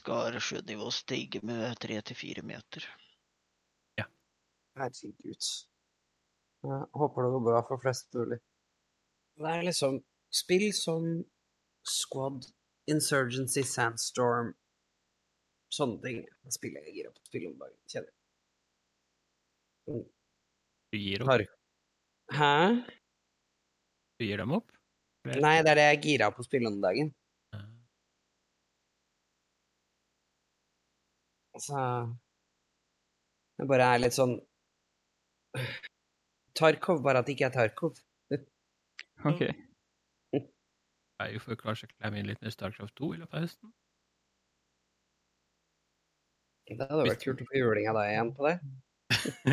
[SPEAKER 4] skal sjønivået stige med tre til fire meter.
[SPEAKER 1] Herregud. Jeg håper det går bra for flest mulig. Det er liksom spill som Squad, Insurgency, Sandstorm Sånne ting. Det spiller jeg gira på å spille om dagen, kjenner jeg.
[SPEAKER 6] Du gir,
[SPEAKER 1] Har-
[SPEAKER 6] opp.
[SPEAKER 1] Hæ?
[SPEAKER 6] Du gir dem opp?
[SPEAKER 1] Nei, det er det jeg er gira på å spille om dagen.
[SPEAKER 6] Eh,
[SPEAKER 1] Altså Det bare er litt sånn Tarkov, bare at det ikke er Tarkov.
[SPEAKER 3] Ok.
[SPEAKER 6] Jeg er jo for klar til å klemme inn litt med Starcraft 2 i løpet av høsten.
[SPEAKER 1] Det hadde vært kult å få juling av deg igjen på det.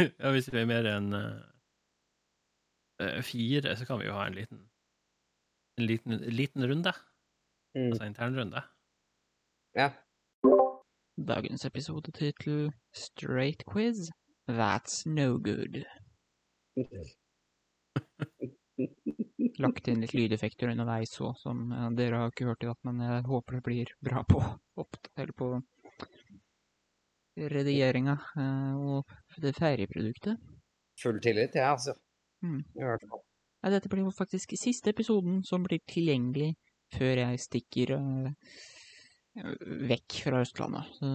[SPEAKER 6] ja, hvis vi er mer enn eh, eh, fire, så kan vi jo ha en liten, en liten, liten runde.
[SPEAKER 1] Mm.
[SPEAKER 6] Altså internrunde.
[SPEAKER 1] Ja.
[SPEAKER 3] Dagens episodetittel Straight Quiz That's No Good. Lagt inn litt lydeffekter underveis òg, som eh, dere har ikke hørt i dag, men jeg håper det blir bra på oppta- eller på redigeringa eh, og det ferdige produktet.
[SPEAKER 1] Full tillit, jeg, ja, altså.
[SPEAKER 3] Mm.
[SPEAKER 1] I hvert fall.
[SPEAKER 3] Nei, dette blir jo faktisk siste episoden som blir tilgjengelig før jeg stikker eh, vekk fra Østlandet. Så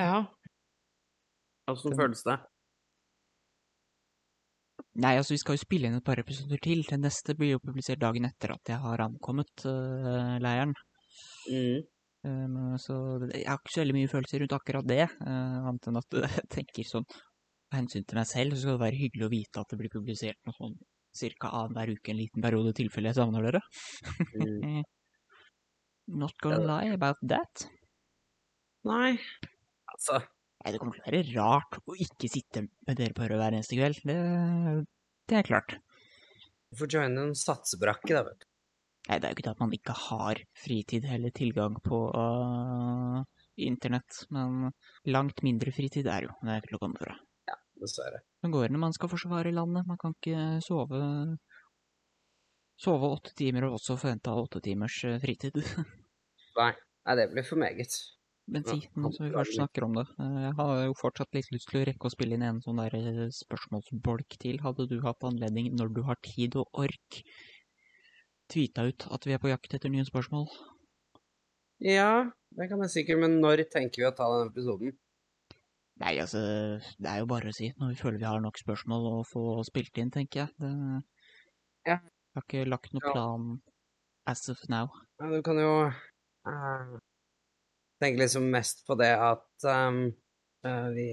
[SPEAKER 1] Ja. Åssen
[SPEAKER 3] Den-
[SPEAKER 1] Altså, sånn føles det?
[SPEAKER 3] Nei, altså vi skal jo spille inn et par episoder til. Den neste blir jo publisert dagen etter at jeg har ankommet øh, leiren.
[SPEAKER 1] Mm.
[SPEAKER 3] Um, så det- jeg har ikke så veldig mye følelser rundt akkurat det, øh, annet enn at jeg tenker sånn av hensyn til meg selv, så skal det være hyggelig å vite at det blir publisert noe sånn cirka annenhver uke en liten periode, i tilfelle jeg savner dere.
[SPEAKER 1] Mm.
[SPEAKER 3] Not gonna lie about that.
[SPEAKER 1] Nei, altså
[SPEAKER 3] Nei, det kommer til å være rart å ikke sitte med dere på rød hver eneste kveld. Det, det er klart.
[SPEAKER 1] Du får joine en satsebrakke, da, vet du.
[SPEAKER 3] Nei, det er jo ikke det at man ikke har fritid eller tilgang på øh, internett, men langt mindre fritid er jo, det er ikke til å komme fra.
[SPEAKER 1] Dessverre.
[SPEAKER 3] Det går når man skal forsvare landet, man kan ikke sove sove åtte timer og også forvente å ha åtte timers øh, fritid.
[SPEAKER 1] Nei, det blir for meget.
[SPEAKER 3] Men
[SPEAKER 1] Ja,
[SPEAKER 3] si, nå som vi
[SPEAKER 1] kan-
[SPEAKER 3] først snakker om det, øh, jeg har jo fortsatt litt lyst til å rekke å spille inn en sånn der øh, spørsmålsbolk til. Hadde du hatt anledning, når du har tid og ork, tweeta ut at vi er på jakt etter nye spørsmål.
[SPEAKER 1] Ja, det kan jeg sikkert, men når tenker vi å ta den episoden?
[SPEAKER 3] Nei, altså, det er jo bare å si når vi føler vi har nok spørsmål å få spilt inn, tenker jeg. Det...
[SPEAKER 1] Ja.
[SPEAKER 3] Jeg har ikke lagt noen
[SPEAKER 1] Ja.
[SPEAKER 3] plan as of now.
[SPEAKER 1] Ja, du kan jo eh, tenke liksom mest på det at ehm, eh, vi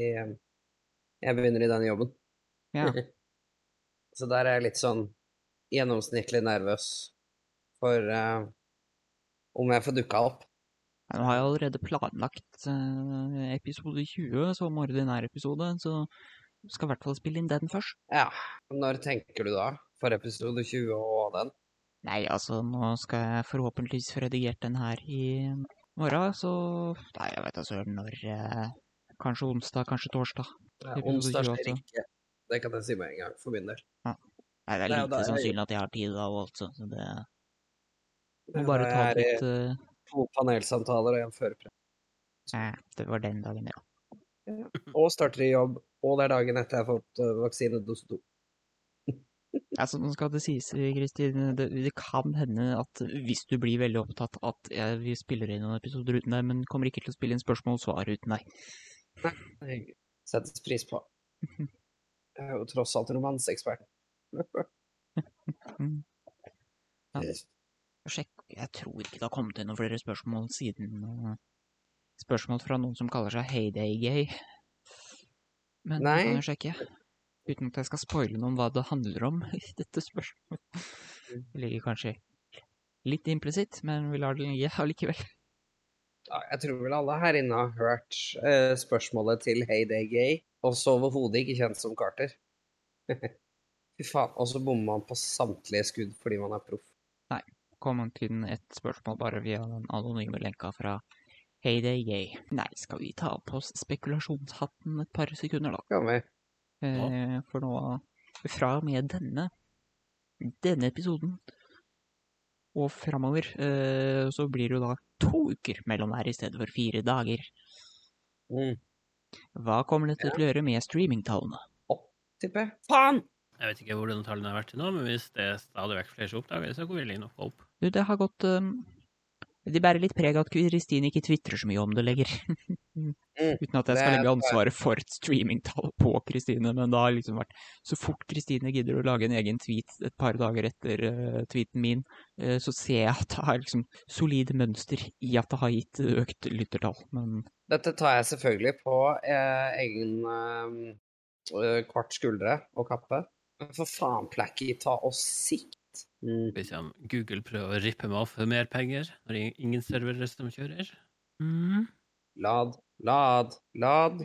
[SPEAKER 1] Jeg begynner i den jobben.
[SPEAKER 3] Ja.
[SPEAKER 1] Så der er jeg litt sånn gjennomsnittlig nervøs for eh, om jeg får dukka opp.
[SPEAKER 3] Nå har jeg allerede planlagt eh, episode 20 som ordinær episode, så skal i hvert fall spille inn den først.
[SPEAKER 1] Ja. Når tenker du da? For episode 20 og den?
[SPEAKER 3] Nei, altså, nå skal jeg forhåpentligvis få redigert den her i morgen, så Nei, jeg veit da søren når eh, Kanskje onsdag, kanskje torsdag.
[SPEAKER 1] Ja,
[SPEAKER 3] Episode
[SPEAKER 1] Eh, onsdag
[SPEAKER 3] 20
[SPEAKER 1] skjer
[SPEAKER 3] også.
[SPEAKER 1] ikke. Det kan jeg si med en gang, for min del.
[SPEAKER 3] Nei, det er
[SPEAKER 1] Det er jo
[SPEAKER 3] lite
[SPEAKER 1] da jeg-
[SPEAKER 3] sannsynlig at jeg har tid da, og alt sånt, så det
[SPEAKER 1] Ja,
[SPEAKER 3] Må bare
[SPEAKER 1] da
[SPEAKER 3] ta
[SPEAKER 1] er
[SPEAKER 3] det
[SPEAKER 1] det-
[SPEAKER 3] litt eh,
[SPEAKER 1] To panelsamtaler og en førerprøve.
[SPEAKER 3] eh, Det var den dagen, ja. Mm.
[SPEAKER 1] Og starter i jobb, og det er dagen etter jeg har fått eh, vaksine dose to.
[SPEAKER 3] Altså, nå skal det sies, Kristin, eh, det, det kan hende at hvis du blir veldig opptatt at eh, vi spiller inn noen episoder uten deg, men kommer ikke til å spille inn spørsmål og svar uten deg.
[SPEAKER 1] Det Settes pris på. Jeg er jo tross alt romanseekspert.
[SPEAKER 3] Ja. Sjekk, jeg tror ikke det har kommet inn noen flere spørsmål siden eh, Spørsmål fra noen som kaller seg Heyday-gay. Men det
[SPEAKER 1] Nei.
[SPEAKER 3] kan jeg sjekke. Uten at jeg skal spoile noe om hva det handler om i dette spørsmålet. Det ligger kanskje litt implisitt, men vi lar det ligge allikevel.
[SPEAKER 1] Ja, Jeg tror vel alle her inne har hørt eh, spørsmålet til Hey Day Gay, også overhodet ikke kjent som Carter. Fy faen, og så bommer man på samtlige skudd fordi man er proff.
[SPEAKER 3] Kom kun et spørsmål bare via den anonyme lenka fra Heyday-gay. Nei, skal vi ta på oss spekulasjonshatten et par sekunder, da?
[SPEAKER 1] Kan vi?
[SPEAKER 3] Eh, for nå Fra og med denne denne episoden og framover, eh, så blir det jo da to uker mellom her i stedet for fire dager.
[SPEAKER 1] Mm,
[SPEAKER 3] Hva kommer dette til å gjøre med streamingtallene?
[SPEAKER 1] tipper jeg. Faen!
[SPEAKER 6] Jeg vet ikke hvor den tallene har vært til nå, men hvis det er stadig vekk flere som oppdager det, så vil de nok gå opp.
[SPEAKER 3] Du, det har gått eh, De bærer litt preg av at Kristin ikke tvitrer så mye om det lenger. Uten at
[SPEAKER 1] det
[SPEAKER 3] jeg skal legge
[SPEAKER 1] tror jeg.
[SPEAKER 3] ansvaret for et streamingtall på Kristine, men det har liksom vært Så fort Kristine gidder å lage en egen tweet et par dager etter eh, tweeten min, eh, så ser jeg at det er liksom solid mønster i at det har gitt økt lyttertall. Men
[SPEAKER 1] Dette tar jeg selvfølgelig på eh, egen eh, kvart skuldre og kappe. Men for faen, Placky, ta og sikt. Mm.
[SPEAKER 6] Hvis han- Google prøver å rippe meg av for mer penger når det er ingen servere som kjører.
[SPEAKER 1] Lad, lad, lad.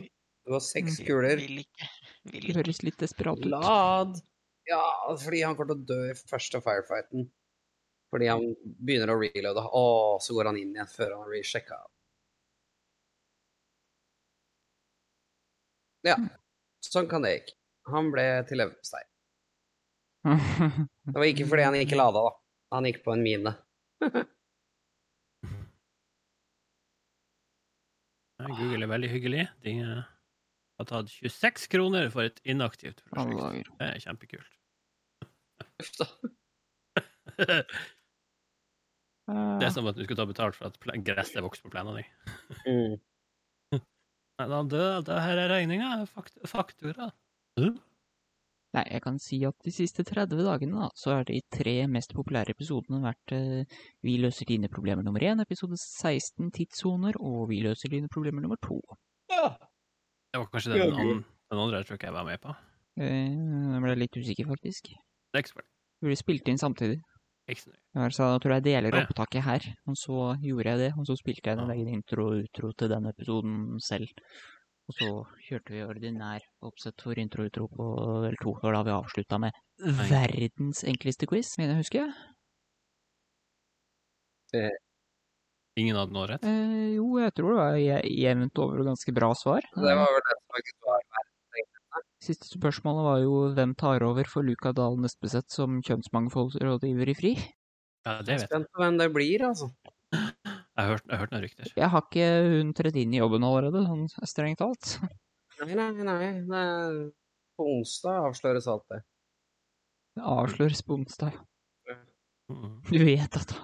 [SPEAKER 1] Du har seks kuler.
[SPEAKER 4] Vil ikke. Vil
[SPEAKER 3] det
[SPEAKER 4] ikke.
[SPEAKER 3] høres litt desperat ut.
[SPEAKER 1] Lad! Ja, fordi han kommer til å dø i første firefighten. Fordi han begynner å reloade. Å, så går han inn igjen før han har rechecka. Ja. Sånn kan det gikk. Han ble til leverpostei.
[SPEAKER 3] Eh.
[SPEAKER 1] Det var ikke fordi han ikke lada, da. Han gikk på en mine.
[SPEAKER 6] Ja, Google er veldig hyggelig. De eh, har tatt 26 kroner for et inaktivt
[SPEAKER 3] Alle
[SPEAKER 6] prosjekt.
[SPEAKER 3] dager.
[SPEAKER 6] Det er kjempekult.
[SPEAKER 1] Uff da.
[SPEAKER 6] Det
[SPEAKER 3] Eh,
[SPEAKER 6] er som at du skulle ta betalt for at pla- gresset vokser på plenen din.
[SPEAKER 1] Mm.
[SPEAKER 6] Nei, da dør det. Her er regninga. Fakt faktura. Hæ?
[SPEAKER 3] Nei, jeg kan si at de siste 30 dagene da, så er de tre mest populære episodene vært eh, Vi løser dine problemer nummer én, episode 16, tidssoner, og Vi løser dine problemer nummer to.
[SPEAKER 1] Ja.
[SPEAKER 6] Det var kanskje den,
[SPEAKER 1] Ja,
[SPEAKER 6] an den andre jeg tror ikke jeg var med på.
[SPEAKER 3] Eh, Jeg ble litt usikker, faktisk.
[SPEAKER 6] Det er ikke så farlig.
[SPEAKER 3] Vi ble spilt inn samtidig.
[SPEAKER 6] Ikke så nøye.
[SPEAKER 3] Jeg sa jeg tror jeg deler
[SPEAKER 6] Å, ja.
[SPEAKER 3] opptaket her, og så gjorde jeg det. Og så spilte jeg en
[SPEAKER 6] Ah.
[SPEAKER 3] egen intro og utro til den episoden selv. Og så kjørte vi ordinær oppsett for intro og utro på del to, og da vi avslutta med verdens enkleste quiz, mener jeg å huske.
[SPEAKER 6] Ingen hadde noe rett.
[SPEAKER 3] Eh, jo, jeg tror det var je- jevnt over og ganske bra svar.
[SPEAKER 1] Det var vel det som faktisk var
[SPEAKER 3] Siste spørsmålet var jo hvem tar over for Luka Dahl Nespeseth som kjønnsmangfoldsrådgiver i FRI?
[SPEAKER 6] Ja, det vet jeg.
[SPEAKER 1] spent på hvem det blir, altså.
[SPEAKER 6] Jeg har hørt, jeg har hørt noen rykter.
[SPEAKER 3] Jeg har ikke hun tredd inn i jobben allerede, sånn strengt talt.
[SPEAKER 1] Nei, nei, nei. Det er... På onsdag avsløres alt det.
[SPEAKER 3] Det avsløres på onsdag.
[SPEAKER 6] Mm.
[SPEAKER 3] Du vet at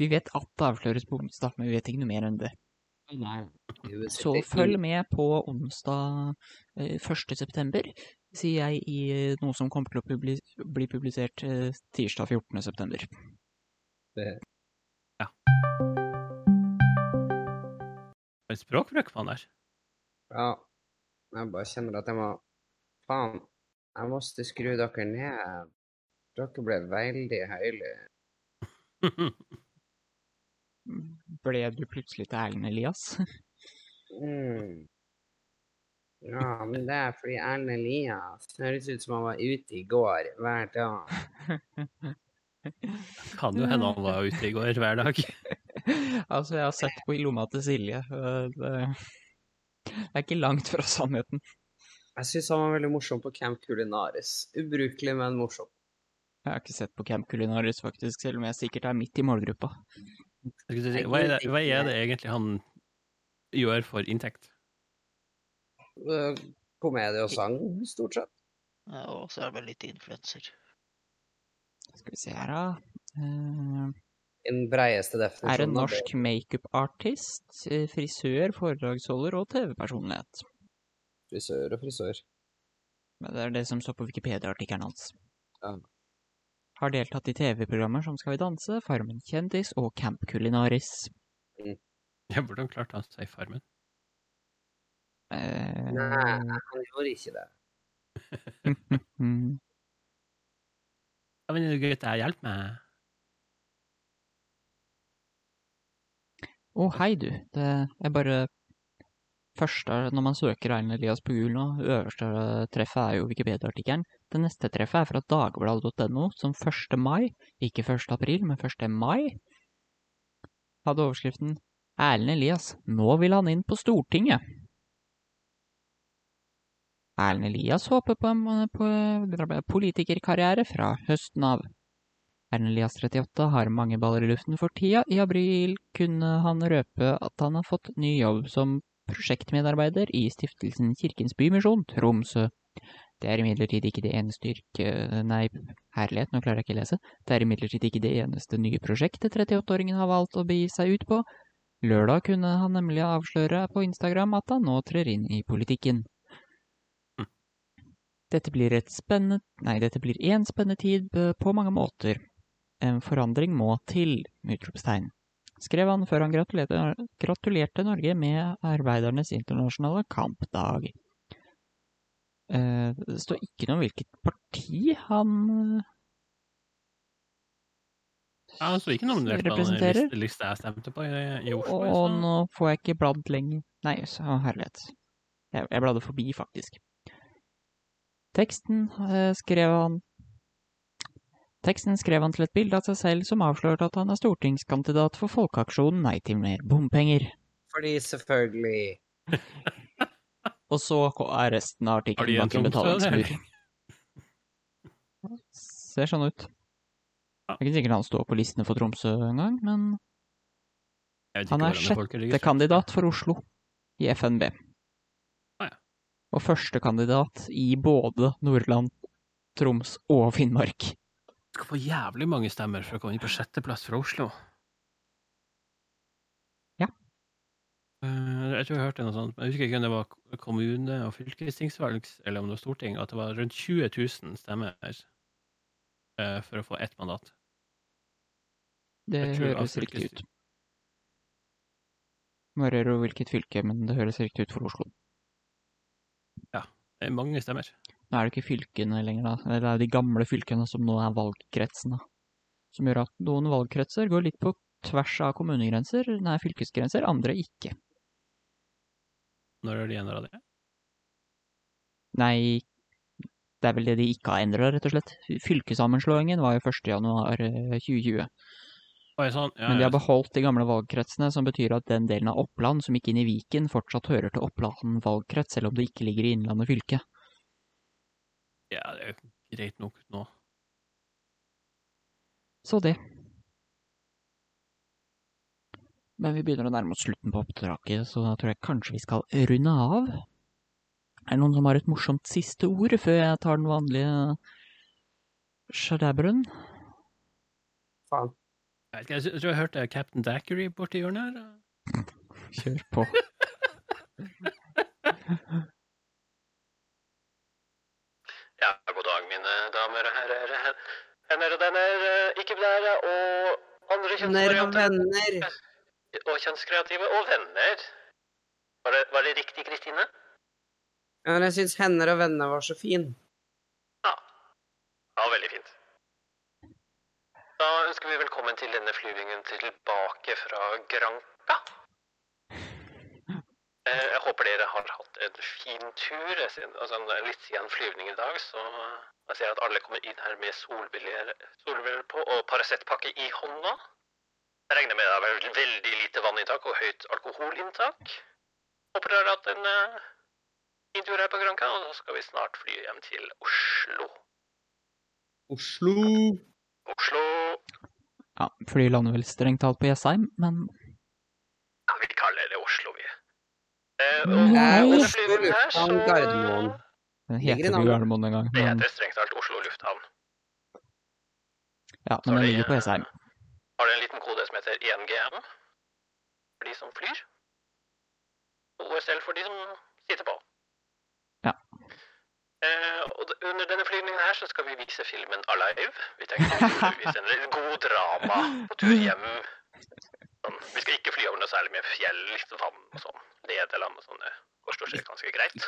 [SPEAKER 3] Vi vet at det avsløres på onsdag, men vi vet ikke noe mer enn det. Så følg med på onsdag eh, 1. september, sier jeg i eh, noe som kommer til å publi bli publisert eh, tirsdag 14. september.
[SPEAKER 6] Hva er språkbruk man der?
[SPEAKER 1] Ja. Jeg bare kjenner at jeg må Faen, jeg måtte skru dere ned. Dere ble veldig høylytte.
[SPEAKER 3] Ble du plutselig til Erlend Elias?
[SPEAKER 1] Mm. Ja, men det er fordi Erlend Elias høres ut som han var ute i går hver dag.
[SPEAKER 6] Kan jo hende han
[SPEAKER 3] Mm.
[SPEAKER 6] var ute i går hver dag.
[SPEAKER 3] altså, jeg har sett på i lomma til Silje. øh, Det, det er ikke langt fra sannheten.
[SPEAKER 1] Jeg syns han var veldig morsom på Camp Culinaris. Ubrukelig, men morsom.
[SPEAKER 3] Jeg har ikke sett på Camp Culinaris, faktisk, selv om jeg sikkert er midt i målgruppa.
[SPEAKER 6] Skal vi si, Hva er det, hva er det egentlig han gjør for inntekt?
[SPEAKER 1] Øh, Komedie og sang, stort sett.
[SPEAKER 4] Ja, Eh, og så er det vel litt influenser.
[SPEAKER 3] Skal vi se her, da. Eh,
[SPEAKER 1] I den breieste definisjonen.
[SPEAKER 6] sånn
[SPEAKER 3] er en
[SPEAKER 1] av
[SPEAKER 3] norsk makeup-artist, eh, frisør, foredragsholder og TV-personlighet.
[SPEAKER 1] Frisør og frisør.
[SPEAKER 3] Men Det er det som står på Wikipedia-artikkelen hans.
[SPEAKER 1] Ja.
[SPEAKER 3] Har deltatt i TV-programmer som Skal vi danse, Farmen kjendis og Camp Culinaris.
[SPEAKER 6] Jeg burde ha klart å si Farmen.
[SPEAKER 3] Eh,
[SPEAKER 1] Nei, han gjorde ikke det.
[SPEAKER 3] mm.
[SPEAKER 6] Ja, men gutter, hjelp meg.
[SPEAKER 3] Å, hei, du. Det er bare første Når man søker Erlend Elias på Google nå, øverste treffet er jo Wikipedia-artikkelen. Det neste treffet er fra dagbladet.no, som 1. mai, ikke 1. april, men 1. mai, hadde overskriften 'Erlend Elias, nå vil han inn på Stortinget'. Erlend Elias håper på en på politikerkarriere fra høsten av. Erlend Elias 38 har mange baller i luften for tida. I april kunne han røpe at han har fått ny jobb som prosjektmedarbeider i stiftelsen Kirkens Bymisjon, Tromsø. Det er imidlertid ikke det eneste yrke... Nei, herlighet, nå klarer jeg ikke å lese. Det er imidlertid ikke det eneste nye prosjektet 38-åringen har valgt å begi seg ut på. Lørdag kunne han nemlig avsløre på Instagram at han nå trer inn i politikken. Dette blir et spennende Nei, dette blir en spennende tid eh, på mange måter. En forandring må til! utropstegn. Skrev han før han gratulerte, gratulerte Norge med arbeidernes internasjonale kampdag. Eh, Det står ikke noe om hvilket parti han eh,
[SPEAKER 6] Ja, han sto ikke nominert på den
[SPEAKER 3] Representerer?
[SPEAKER 6] liste, lista jeg stemte på i, i Oslo.
[SPEAKER 3] Og
[SPEAKER 6] liksom. så-
[SPEAKER 3] nå får jeg ikke bladd lenger. Nei, så herlighet. Jeg, jeg bladde forbi, faktisk. Teksten eh, skrev han Teksten skrev han til et bilde av seg selv som avslørte at han er stortingskandidat for folkeaksjonen Nei til mer bompenger.
[SPEAKER 1] Fordi selvfølgelig
[SPEAKER 3] Og så ko- er resten av
[SPEAKER 6] Har de
[SPEAKER 3] artikkelen
[SPEAKER 6] en
[SPEAKER 3] bak en
[SPEAKER 6] Tromsø, eller?
[SPEAKER 3] betalingsmur. Ser sånn ut. Det er ikke sikkert han står på listene for Tromsø engang, men
[SPEAKER 6] Jeg vet ikke
[SPEAKER 3] han er
[SPEAKER 6] hvordan det
[SPEAKER 3] sjette
[SPEAKER 6] folket
[SPEAKER 3] Det
[SPEAKER 6] registrerer.
[SPEAKER 3] er kandidat for Oslo i FNB.
[SPEAKER 6] Ah, ja.
[SPEAKER 3] Og førstekandidat i både Nordland, Troms og Finnmark.
[SPEAKER 6] skal få jævlig mange stemmer for å komme inn på sjetteplass fra Oslo.
[SPEAKER 3] Ja.
[SPEAKER 6] Eh, Jeg tror jeg hørte noe sånt, men jeg husker ikke om det var kommune- og fylkestingsvalg, eller om det var storting, at det var rundt 20 000 stemmer eh, for å få ett mandat.
[SPEAKER 3] Det
[SPEAKER 6] Jeg tror at
[SPEAKER 3] høres riktig ut.
[SPEAKER 6] fylkes-
[SPEAKER 3] Må høre hvilket fylke, men det høres riktig ut for Oslo.
[SPEAKER 6] Det er mange stemmer.
[SPEAKER 3] Nå er det ikke fylkene lenger, da. Eller Det er de gamle fylkene som nå er valgkretsene. Som gjør at noen valgkretser går litt på tvers av kommunegrenser, nei, fylkesgrenser, andre ikke.
[SPEAKER 6] Når er det igjen av det?
[SPEAKER 3] Nei, det er vel det de ikke har endra, rett og slett. Fylkessammenslåingen var jo 1. januar eh, 2020.
[SPEAKER 6] Oi, sånn. Ja,
[SPEAKER 3] Men de
[SPEAKER 6] ja.
[SPEAKER 3] har beholdt de gamle valgkretsene, som betyr at den delen av Oppland som gikk inn i Viken, fortsatt hører til Oppland valgkrets, selv om det ikke ligger i Innlandet fylke.
[SPEAKER 6] ja, det er jo greit nok nå.
[SPEAKER 3] Så det. Men vi begynner å nærme oss slutten på oppdraget, så da tror jeg kanskje vi skal runde av. Er det noen som har et morsomt siste ord før jeg tar den vanlige sjadabrun?
[SPEAKER 1] faen.
[SPEAKER 6] Jeg, vet ikke, jeg tror jeg hørte Captain Dackery borti hjørnet her.
[SPEAKER 3] Kjør på.
[SPEAKER 8] Ja, god dag, mine damer og herrer. Venner og denner, ikke-binære og andre
[SPEAKER 1] Venner og
[SPEAKER 8] kjønnsvarianter.
[SPEAKER 1] venner.
[SPEAKER 8] Og kjønnskreative og venner. Var det, var det riktig, Kristine?
[SPEAKER 1] Ja, men jeg syns hender og venner var så fin.
[SPEAKER 8] Ja, veldig fint. Da ønsker vi velkommen til denne flyvingen tilbake fra Granca. Eh, Jeg håper dere har hatt en fin tur. Jeg ser- Altså, det er litt siden flyvning i dag, så eh, jeg ser at alle kommer inn her med solbriller solbriller på og Paracet-pakke i hånda. Jeg regner med det har vært veldig lite vanninntak og høyt alkoholinntak. Håper dere har hatt en eh, fin tur her på Granca, og så skal vi snart fly hjem til Oslo.
[SPEAKER 1] Oslo.
[SPEAKER 8] Oslo
[SPEAKER 3] Ja, flyet lander vel strengt talt på Jessheim, men
[SPEAKER 8] Ja, vi kaller det Oslo, vi. Eh,
[SPEAKER 3] Nei,
[SPEAKER 8] denne
[SPEAKER 1] Oslo
[SPEAKER 8] flyvningen her,
[SPEAKER 1] lufthavn
[SPEAKER 8] så-
[SPEAKER 1] Gardermoen. Mm.
[SPEAKER 3] den
[SPEAKER 1] Ligger i
[SPEAKER 3] heter jo
[SPEAKER 1] navnet.
[SPEAKER 3] Gardermoen en gang.
[SPEAKER 8] Det
[SPEAKER 3] Men,
[SPEAKER 8] heter strengt talt Oslo lufthavn.
[SPEAKER 3] ja, men den
[SPEAKER 8] Sorry,
[SPEAKER 3] ligger på
[SPEAKER 8] eh,
[SPEAKER 3] Jessheim.
[SPEAKER 8] Har det en liten kode som heter E 1GM for de som flyr. Og OSL for de som sitter på.
[SPEAKER 3] Ja.
[SPEAKER 8] Eh, og d- under denne flyvningen her så skal vi vise filmen Alive. Vi tenkte vi skulle vise en litt god drama på tur hjem. Sånn. Vi skal ikke fly over noe særlig med fjell, litt vann og sånn. Nederland og sånn. Det går stort sett ganske greit.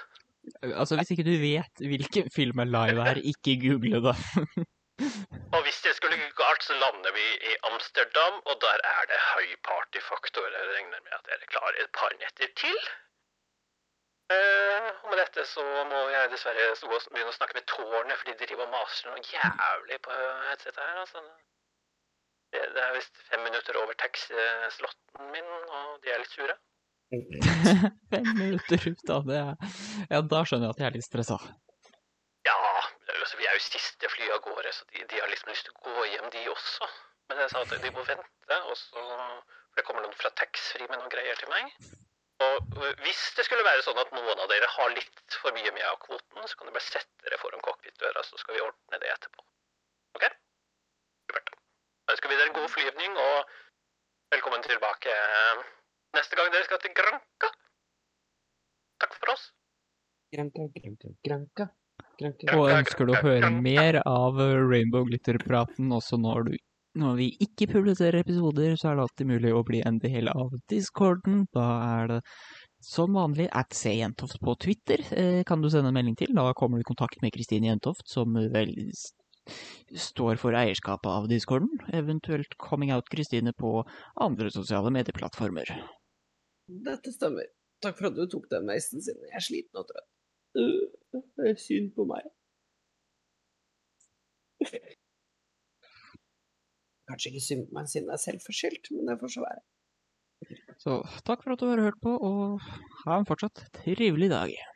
[SPEAKER 3] Altså, hvis ikke du vet hvilken film er live her, ikke google det.
[SPEAKER 8] Og hvis det skulle gå galt, så lander vi i Amsterdam, og der er det høy partyfaktor. Jeg regner med at dere klarer et par netter til. Eh, og med dette så må jeg dessverre så gå og begynne å snakke med tårnet, for de driver og maser noe jævlig på headsetet her. altså. Det, det er visst fem minutter over taxislotten min, og de er litt sure.
[SPEAKER 3] Fem minutter ut av det. Ja, da skjønner jeg at jeg er litt stressa.
[SPEAKER 8] Ja, altså, vi er jo siste fly av gårde, så de, de har liksom lyst til å gå hjem, de også. Men jeg sa at de må vente, og så for det kommer noen fra taxfree med noen greier til meg. Og øh, hvis det skulle være sånn at noen av dere har litt for mye med av kvoten, så kan dere bare sette dere foran cockpitdøra, så skal vi ordne det etterpå. OK? Supert. Da ønsker vi dere en god flyvning, og velkommen tilbake øh, neste gang dere skal til Granca. Takk for oss.
[SPEAKER 1] Granka, granka, granka. granka.
[SPEAKER 3] Og ønsker du å høre mer av Rainbow Glitter-praten også når, du, når vi ikke publiserer episoder, så er det alltid mulig å bli en del av discorden. Da er det som vanlig at C. Jentoft på Twitter eh, kan du sende en melding til. Da kommer du i kontakt med Kristine Jentoft, som vel s- står for eierskapet av discorden. Eventuelt Coming Out Kristine på andre sosiale medieplattformer.
[SPEAKER 1] Dette stemmer. Takk for at du tok den meisen sin. Jeg er sliten og trøtt. Øh, Det er synd på meg. Kanskje ikke synd på meg siden jeg er selvforskyldt, men det får så være.
[SPEAKER 3] Så takk for at du har hørt på, og ha en fortsatt trivelig dag.